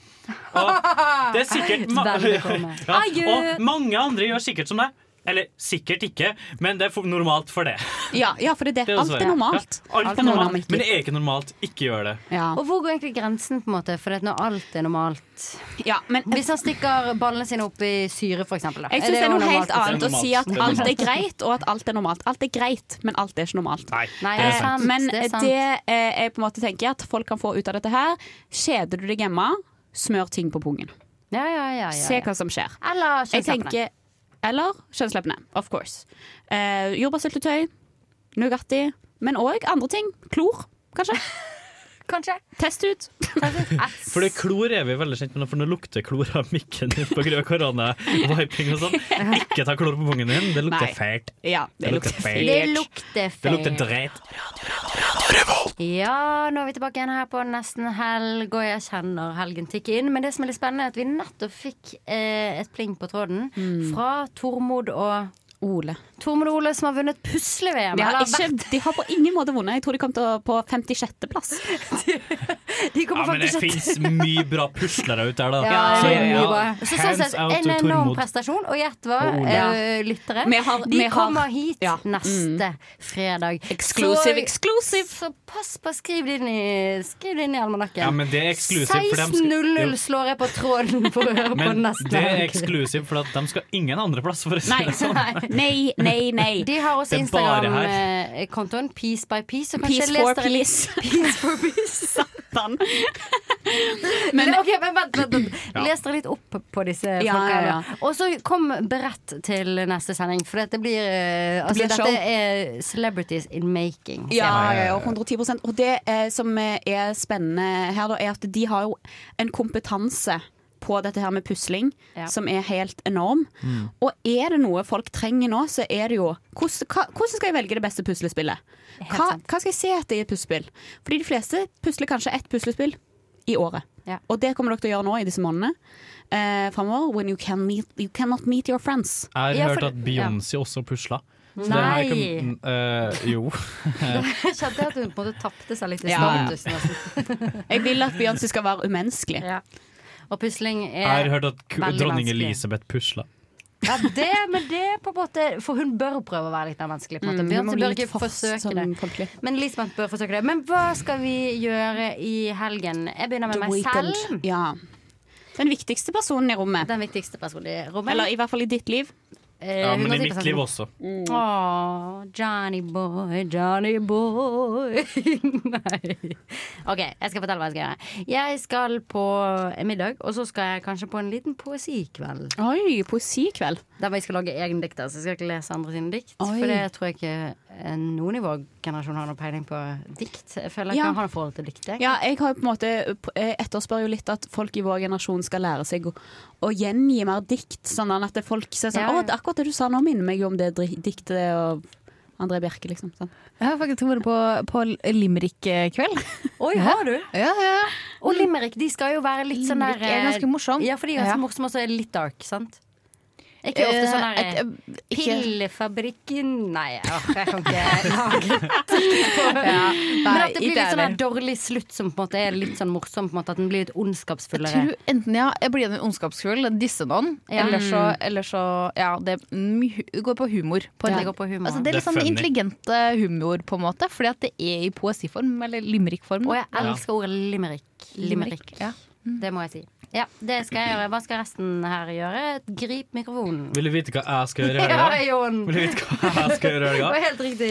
S3: Og det er sikkert ma
S2: Vel bekomme.
S3: *laughs* ja,
S2: Adjø.
S3: Og mange andre gjør sikkert som deg. Eller sikkert ikke, men det er for normalt for det.
S4: Ja, ja, for det er det.
S3: Det jo
S4: Alt
S3: svaret.
S4: er normalt.
S3: Ja, alt er normalt. Men det er ikke normalt. Ikke gjør det.
S2: Og hvor går egentlig grensen, på en måte? For at når alt er normalt
S4: men,
S2: Hvis han stikker ballene sine opp i syre, for eksempel. Da.
S4: Jeg syns det er noe helt
S2: normalt?
S4: annet å si at alt er greit, og at alt er normalt. Alt er greit, men alt er ikke normalt.
S2: Nei, det er
S4: Eh,
S2: sant.
S4: Men
S2: Det er sant.
S4: det eh, jeg på en måte tenker at folk kan få ut av dette her Kjeder du deg hjemme, smør ting på pungen.
S2: Ja, ja, ja, ja, ja.
S4: Se hva som skjer.
S2: Eller
S4: Jeg
S2: kjønnsleppene.
S4: tenker, eller kjønnsleppene, of course. Eh, Jordbærsyltetøy, Nugatti, men òg andre ting. Klor, kanskje.
S2: *laughs* Kanskje.
S4: Test ut.
S3: For det klor er vi veldig kjent med, nå, for nå lukter klor av mikken din på grunn av korona-viping og sånn. Ikke ta klor på pungen din, det lukter
S4: Nei.
S3: fælt.
S4: Ja, det lukter fælt.
S2: Det lukter
S3: Det lukter
S2: feil.
S3: dret.
S2: Ja, nå er vi tilbake igjen her på nesten helg, og jeg kjenner helgen tikke inn. Men det som er litt spennende, er at vi nettopp fikk eh, et pling på tråden
S4: Mm.
S2: fra Tormod og
S4: Ole.
S2: Tormod og Ole som har vunnet pusle-VM.
S4: De har,
S2: eller
S4: ikke, de har på ingen måte vunnet. Jeg tror de kom til å- på 56. plass.
S2: *laughs* vært- de
S3: Ja,
S2: kommer
S3: men det
S2: faktisk
S3: fins mye bra puslere ute der, da.
S2: Ja, ja,
S3: Så,
S2: ja, ja.
S3: ja,
S2: Så sånn sett,
S3: hands out
S2: en
S3: to Oh,
S2: enorm
S3: Tormod.
S2: prestasjon. Og gjett hva,
S3: Ole.
S2: eh, lyttere.
S4: Vi har-
S2: de
S4: vi har- Mm.
S2: kommer hit neste fredag.
S4: Exclusive,
S2: exclusive! Så pass på, skriv det inn i, skriv det inn i almanakken.
S3: Ja, men det er exclusive, for dem skal-
S2: 16.00
S3: Jo.
S2: slår jeg på tråden for å høre på
S3: Men
S2: neste
S3: det er
S2: helg.
S3: eksklusivt, for at de skal ingen andreplass, for å si det sånn.
S4: Nei, nei, nei.
S2: De har også
S3: Det er bare her.
S2: Instagram-kontoen Peace by Peace. Så kanskje
S4: Peace
S2: les
S4: for
S2: dere litt-
S4: peace.
S2: Peace for peace.
S4: *laughs* Satan.
S2: Men, ok, men vent, vent, vent.
S3: *laughs*
S2: Les dere litt opp på disse
S4: Ja,
S2: folka.
S4: ja, ja.
S2: da. Og så kom beredt til neste sending, for dette blir, eh, altså,
S4: blir
S2: dette
S4: show.
S2: er celebrities in making. ser
S4: Ja,
S2: jeg.
S4: ja, ja, 110 Og det eh, som eh, er spennende her, da, er at de har jo en kompetanse på dette her med pusling,
S2: Ja. Mm.
S4: som er helt enorm. Og er det noe folk trenger nå, så er det jo Hvordan, hva, hvordan skal jeg velge det beste puslespillet? Hva, hva skal jeg se etter i et puslespill? Fordi de fleste pusler kanskje ett puslespill i året. Og det kommer dere til å gjøre nå i disse månedene eh, framover. When you, can meet, you cannot meet your friends.
S3: Jeg har hørt at Beyoncé også pusla. Så det
S2: Nei.
S3: her kan- eh,
S2: *laughs*
S3: jo.
S2: *laughs* Jeg kjente at hun på en måte tapte seg litt i
S4: Ja.
S2: statusen. altså. nesten.
S4: Jeg vil at Beyoncé skal være umenneskelig.
S2: Ja. Og pusling er
S3: Jeg har hørt at ku-
S2: veldig
S3: dronning
S2: vanskelig.
S3: Elisabeth pusla.
S2: Ja, det, men det er på en måte For hun bør prøve å være litt mer menneskelig. På en måte.
S4: Mm, vi må
S2: Beyoncé
S4: bli
S2: bør
S4: litt
S2: ikke
S4: fast sånn-
S2: forsøke
S4: som
S2: det.
S4: folkelig.
S2: Men Elisabeth bør forsøke det. Men hva skal vi gjøre i helgen? Jeg begynner med
S4: The
S2: meg
S4: Weeknd.
S2: selv.
S4: Ja. Den viktigste personen i rommet.
S2: Den viktigste personen i rommet.
S4: Eller i hvert fall i ditt liv.
S2: Eh,
S3: Ja, men i mitt liv
S2: sånn.
S3: også.
S2: Åh, Johnny boy, Johnny boy. *laughs* Nei. OK, jeg skal fortelle hva jeg skal gjøre. Jeg skal på en middag, og så skal jeg kanskje på en liten poesikveld.
S4: Oi, poesikveld.
S2: Der hvor jeg skal lage egen dikt, altså. Jeg skal ikke lese andre sine dikt.
S4: Oi.
S2: For det tror jeg ikke eh, noen i vår generasjon har noe peiling på dikt. Jeg føler ikke
S4: Ja.
S2: han har noe forhold til dikt. jeg.
S4: Ja, jeg har jo på en måte jeg etterspør jo litt at folk i vår generasjon skal lære seg å, å gjengi mer dikt. Sånn at det folk ser sånn
S2: Ja, ja.
S4: Å, det, akkurat det du sa nå minner meg jo om det dri- diktet og André Bjerke, liksom. Sånn.
S8: Jeg har faktisk vært på, på eh, Limerick-kveld.
S2: Oi, har du?
S8: Ja, ja.
S2: Og Limerick, de skal jo være litt sånn der
S8: Limerick er ganske morsom.
S2: Ja, for de er ganske
S8: Ja.
S2: morsomme og så er det litt dark, sant? Ikke ofte sånn
S8: Eh, et-
S2: der
S8: ikke-
S2: Pillefabrikken Nei, åh, jeg kan
S8: *laughs*
S2: ikke lage dikt på
S8: Ja,
S2: Men
S8: nei,
S2: at det blir litt
S8: ikke
S2: sånn der
S8: heller.
S2: dårlig slutt som på en måte er litt sånn morsom, på en måte at den blir litt ondskapsfullere.
S8: Jeg tror enten ja, jeg blir en ondskapsfull, disse noen,
S2: Ja.
S8: eller, så,
S2: Mm.
S8: eller så Ja, det er mye- det går på humor. På en,
S2: Ja, det går på humor.
S8: Altså, det
S2: Det
S8: er litt
S2: er
S8: sånn
S2: funny.
S8: intelligent eh, humor, på en måte, fordi at det er i poesiform, eller limerickform.
S2: Og jeg elsker ordet limerick. Limerick.
S8: Ja.
S2: Det må jeg si. Ja, det skal jeg gjøre. Hva skal resten her gjøre? Grip mikrofonen.
S3: Vil du vite hva jeg
S2: *laughs*
S3: skal gjøre i
S2: Ja,
S3: helga?
S2: Jon.
S3: Vil du vite hva jeg skal gjøre i
S2: Det
S3: helga?
S2: var helt riktig.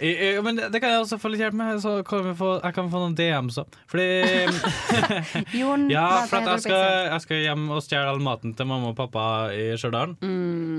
S3: I- i- Men det det kan jeg også få litt hjelp med, så kan vi få, jeg kan få noen DMs òg.
S4: *laughs*
S3: Fordi
S2: Jon,
S3: Ja,
S2: hva
S3: for at jeg
S2: heter
S3: skal, jeg skal hjem og stjele all maten til mamma og pappa i Stjørdal.
S4: Mm,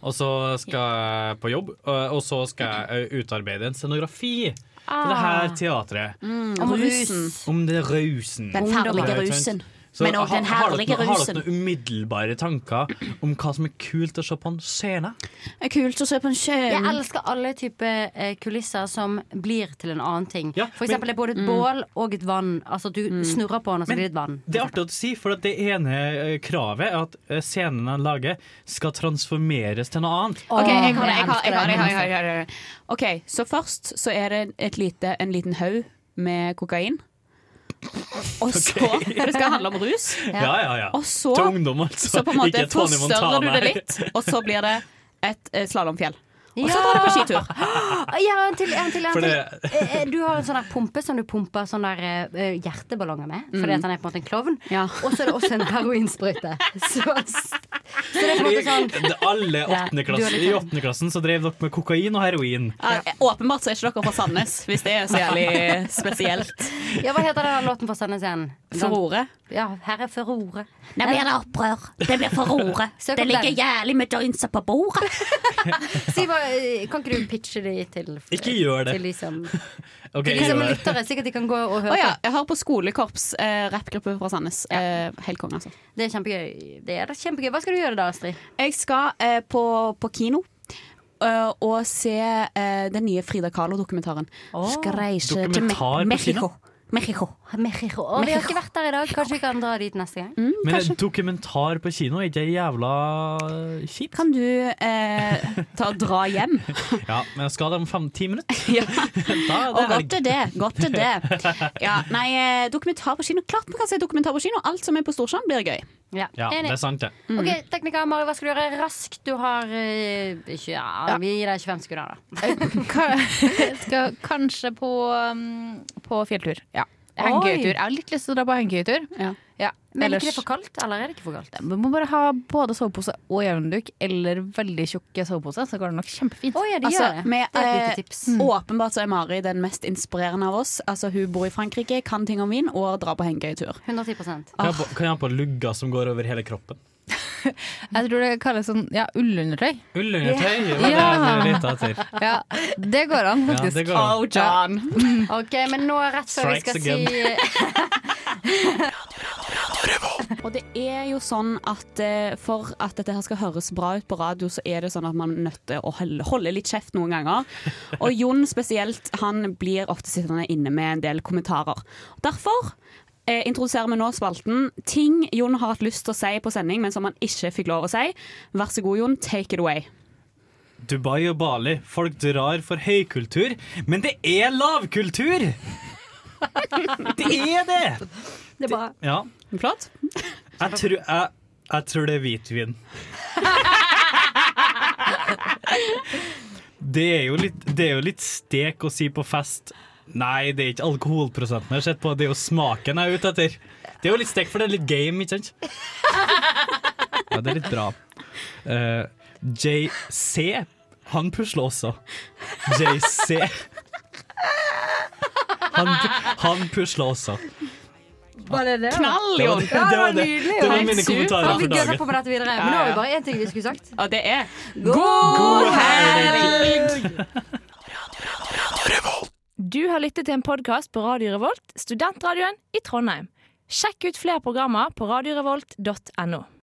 S3: Og så skal jeg på jobb, og og så skal jeg eh, utarbeide en scenografi til det her teatret.
S4: Ah. Mm, Om rusen.
S3: Om det rusen.
S4: Den herlige
S3: Ja, ikke sant?
S4: rusen.
S3: Så
S4: Men også
S3: har-
S4: den
S3: har dere
S4: herlige
S3: noe- Har
S4: rusen.
S3: dere noen umiddelbare tanker om hva som er kult å se på en scene?
S4: Det er kult å se på en sjø.
S2: Jeg elsker alle typer eh, kulisser som blir til en annen ting. For eksempel det er både et
S3: Mm.
S2: bål og et vann. Altså at du snurrer på den, og så blir det et vann.
S3: Det er artig å si, for at det ene eh, kravet er at eh, scenen han lager, skal transformeres til noe annet.
S4: OK, jeg har det. Jeg har, jeg har, det, jeg har, det, jeg har, det, jeg har det. OK, så først så er det et lite, en liten haug med kokain. Og så For det skal handle om rus.
S3: Ja, ja, ja.
S4: Og så,
S3: Til ungdom, altså.
S4: så på en måte
S3: Ikke Tony Montana.
S4: forstørrer du det litt, og så blir det et eh, slalåmfjell. Og så
S2: Ja.
S4: drar du på skitur.
S3: Ah.
S2: Å, Jeg har en til, jeg har en til, jeg
S4: For
S2: har en
S4: det-
S2: til. Eh, eh, Du har en sånn der pumpe som du pumper sånn der eh, hjerteballonger med, fordi
S4: Mm.
S2: at han er på en måte en klovn.
S4: Ja.
S2: Og så er det også en
S3: *laughs*
S2: heroinsprøyte. Så, så det er på en
S4: Altså
S2: måte sånn
S3: Det- Alle åttende
S2: du har
S3: klasse,
S2: litt
S4: sånn-
S3: I åttende klassen så drev dere med kokain og heroin.
S4: Ja, Åpenbart så er ikke dere fra Sandnes, hvis det er så jævlig spesielt. *laughs*
S2: Ja, hva heter den låten fra Sandnes igjen? Sånn-
S4: Furore.
S2: Ja, her er Furore.
S4: Nå blir det opprør. Det blir furore. *laughs*
S2: Søk
S4: Det
S2: opp
S4: ligger
S2: den.
S4: jævlig med døgnsa på bordet.
S2: Si hva, eh, kan ikke du pitche de til
S3: Ikke gjør det.
S2: Til de som,
S3: Ok,
S2: til de som
S3: gjør det.
S2: lyttere, slik at de kan gå og høre
S4: Å ja, jeg har på skolekorps eh, rappgruppe fra Sandnes. Eh, helt konge, altså.
S2: på. Det er kjempegøy. Det er da kjempegøy. Hva skal du gjøre da, Astrid?
S4: Jeg skal eh, på, på kino. eh, og se eh, den nye Frida Kahlo-dokumentaren. Skal reise til Me
S3: Dokumentar på
S4: Mexico. Mexico.
S2: Mexico. Å, vi har ikke vært der i dag. Kanskje vi kan dra dit neste gang?
S3: Men en dokumentar på kino er ikke jævla kjipt.
S4: Kan du eh, ta og dra hjem?
S3: Ja, men jeg skal det om fem, ti minutter.
S4: *laughs* Ja.
S3: Da er
S4: Og
S3: det
S4: godt er det. Godt er det. Ja, nei, eh, dokumentar på kino. Klart vi kan se dokumentar på kino. Alt som er på Storsand, blir gøy.
S2: Ja,
S3: Ja, det er Mm. sant, det.
S2: Ok, tekniker Mari, hva skal du gjøre raskt? Du har eh, ikke- ja, Vi gir deg 25 sekunder, da.
S8: Jeg *laughs* skal kanskje på, um, på fjelltur. Ja. Hengekøyetur. Jeg har litt lyst til å dra på hengekøyetur.
S4: Ja.
S2: Men er det ikke det for kaldt? Eller er det ikke for kaldt?
S8: Man må bare ha både sovepose og jevnduk, eller veldig tjukke sovepose, så går det nok kjempefint.
S2: Å ja, de
S4: Altså,
S2: gjør det.
S4: med,
S2: det er et
S4: eh,
S2: lite tips.
S4: Åpenbart så er Mari den mest inspirerende av oss. Altså, hun bor i Frankrike, kan ting om vin og drar på hengekøyetur.
S2: 110
S3: Kan jeg, ha på,
S4: Ah.
S3: kan jeg ha på lugger som går over hele kroppen?
S8: Jeg tror det kalles sånn ja, ullundertøy.
S3: Ullundertøy? det var Det
S8: Ja.
S3: jeg lette etter.
S8: Ja, det går an,
S3: Ja,
S8: faktisk.
S3: det går an. Oh,
S4: John.
S3: *laughs*
S2: Ok, men nå rett før vi
S3: Strikes
S2: skal
S3: again.
S2: si
S4: Og det er jo sånn at eh, for at dette her skal høres bra ut på radio, så er det sånn at man er nødt til å holde, holde litt kjeft noen ganger. Og Jon spesielt, han blir ofte sittende inne med en del kommentarer. Derfor eh, introduserer vi nå spalten Ting Jon har hatt lyst til å si på sending, men som han ikke fikk lov å si. Vær så god, Jon, take it away.
S3: Dubai og Bali, folk drar for høykultur, men det er lavkultur! Det er det!
S2: Det er bra.
S3: Ja.
S4: Flott.
S3: Jeg tror, jeg, jeg tror det er hvitvin. Det er, jo litt, det er jo litt stek å si på fest Nei, det er ikke alkoholprosenten jeg har sett på, det er jo smaken jeg er ute etter. Det er jo litt stek, for det er litt game, ikke
S2: *laughs*
S3: sant? Ja, det er litt bra. Eh, JC, han pusler også. JC. Han, han pusler også.
S2: Var det det?
S4: Knall,
S3: Det var-
S4: Jon!
S3: det var- det var det. Det var mine kommentarer
S2: Ja,
S3: for
S2: Vi gønner
S3: dagen.
S2: på med dette videre.
S4: Ja,
S2: Men nå har
S4: ja.
S2: vi bare én ting vi skulle sagt.
S4: Og det er
S2: God
S4: helg!
S11: Du har lyttet til en podkast på Radio Revolt, studentradioen i Trondheim. Sjekk ut flere programmer på radiorevolt.no.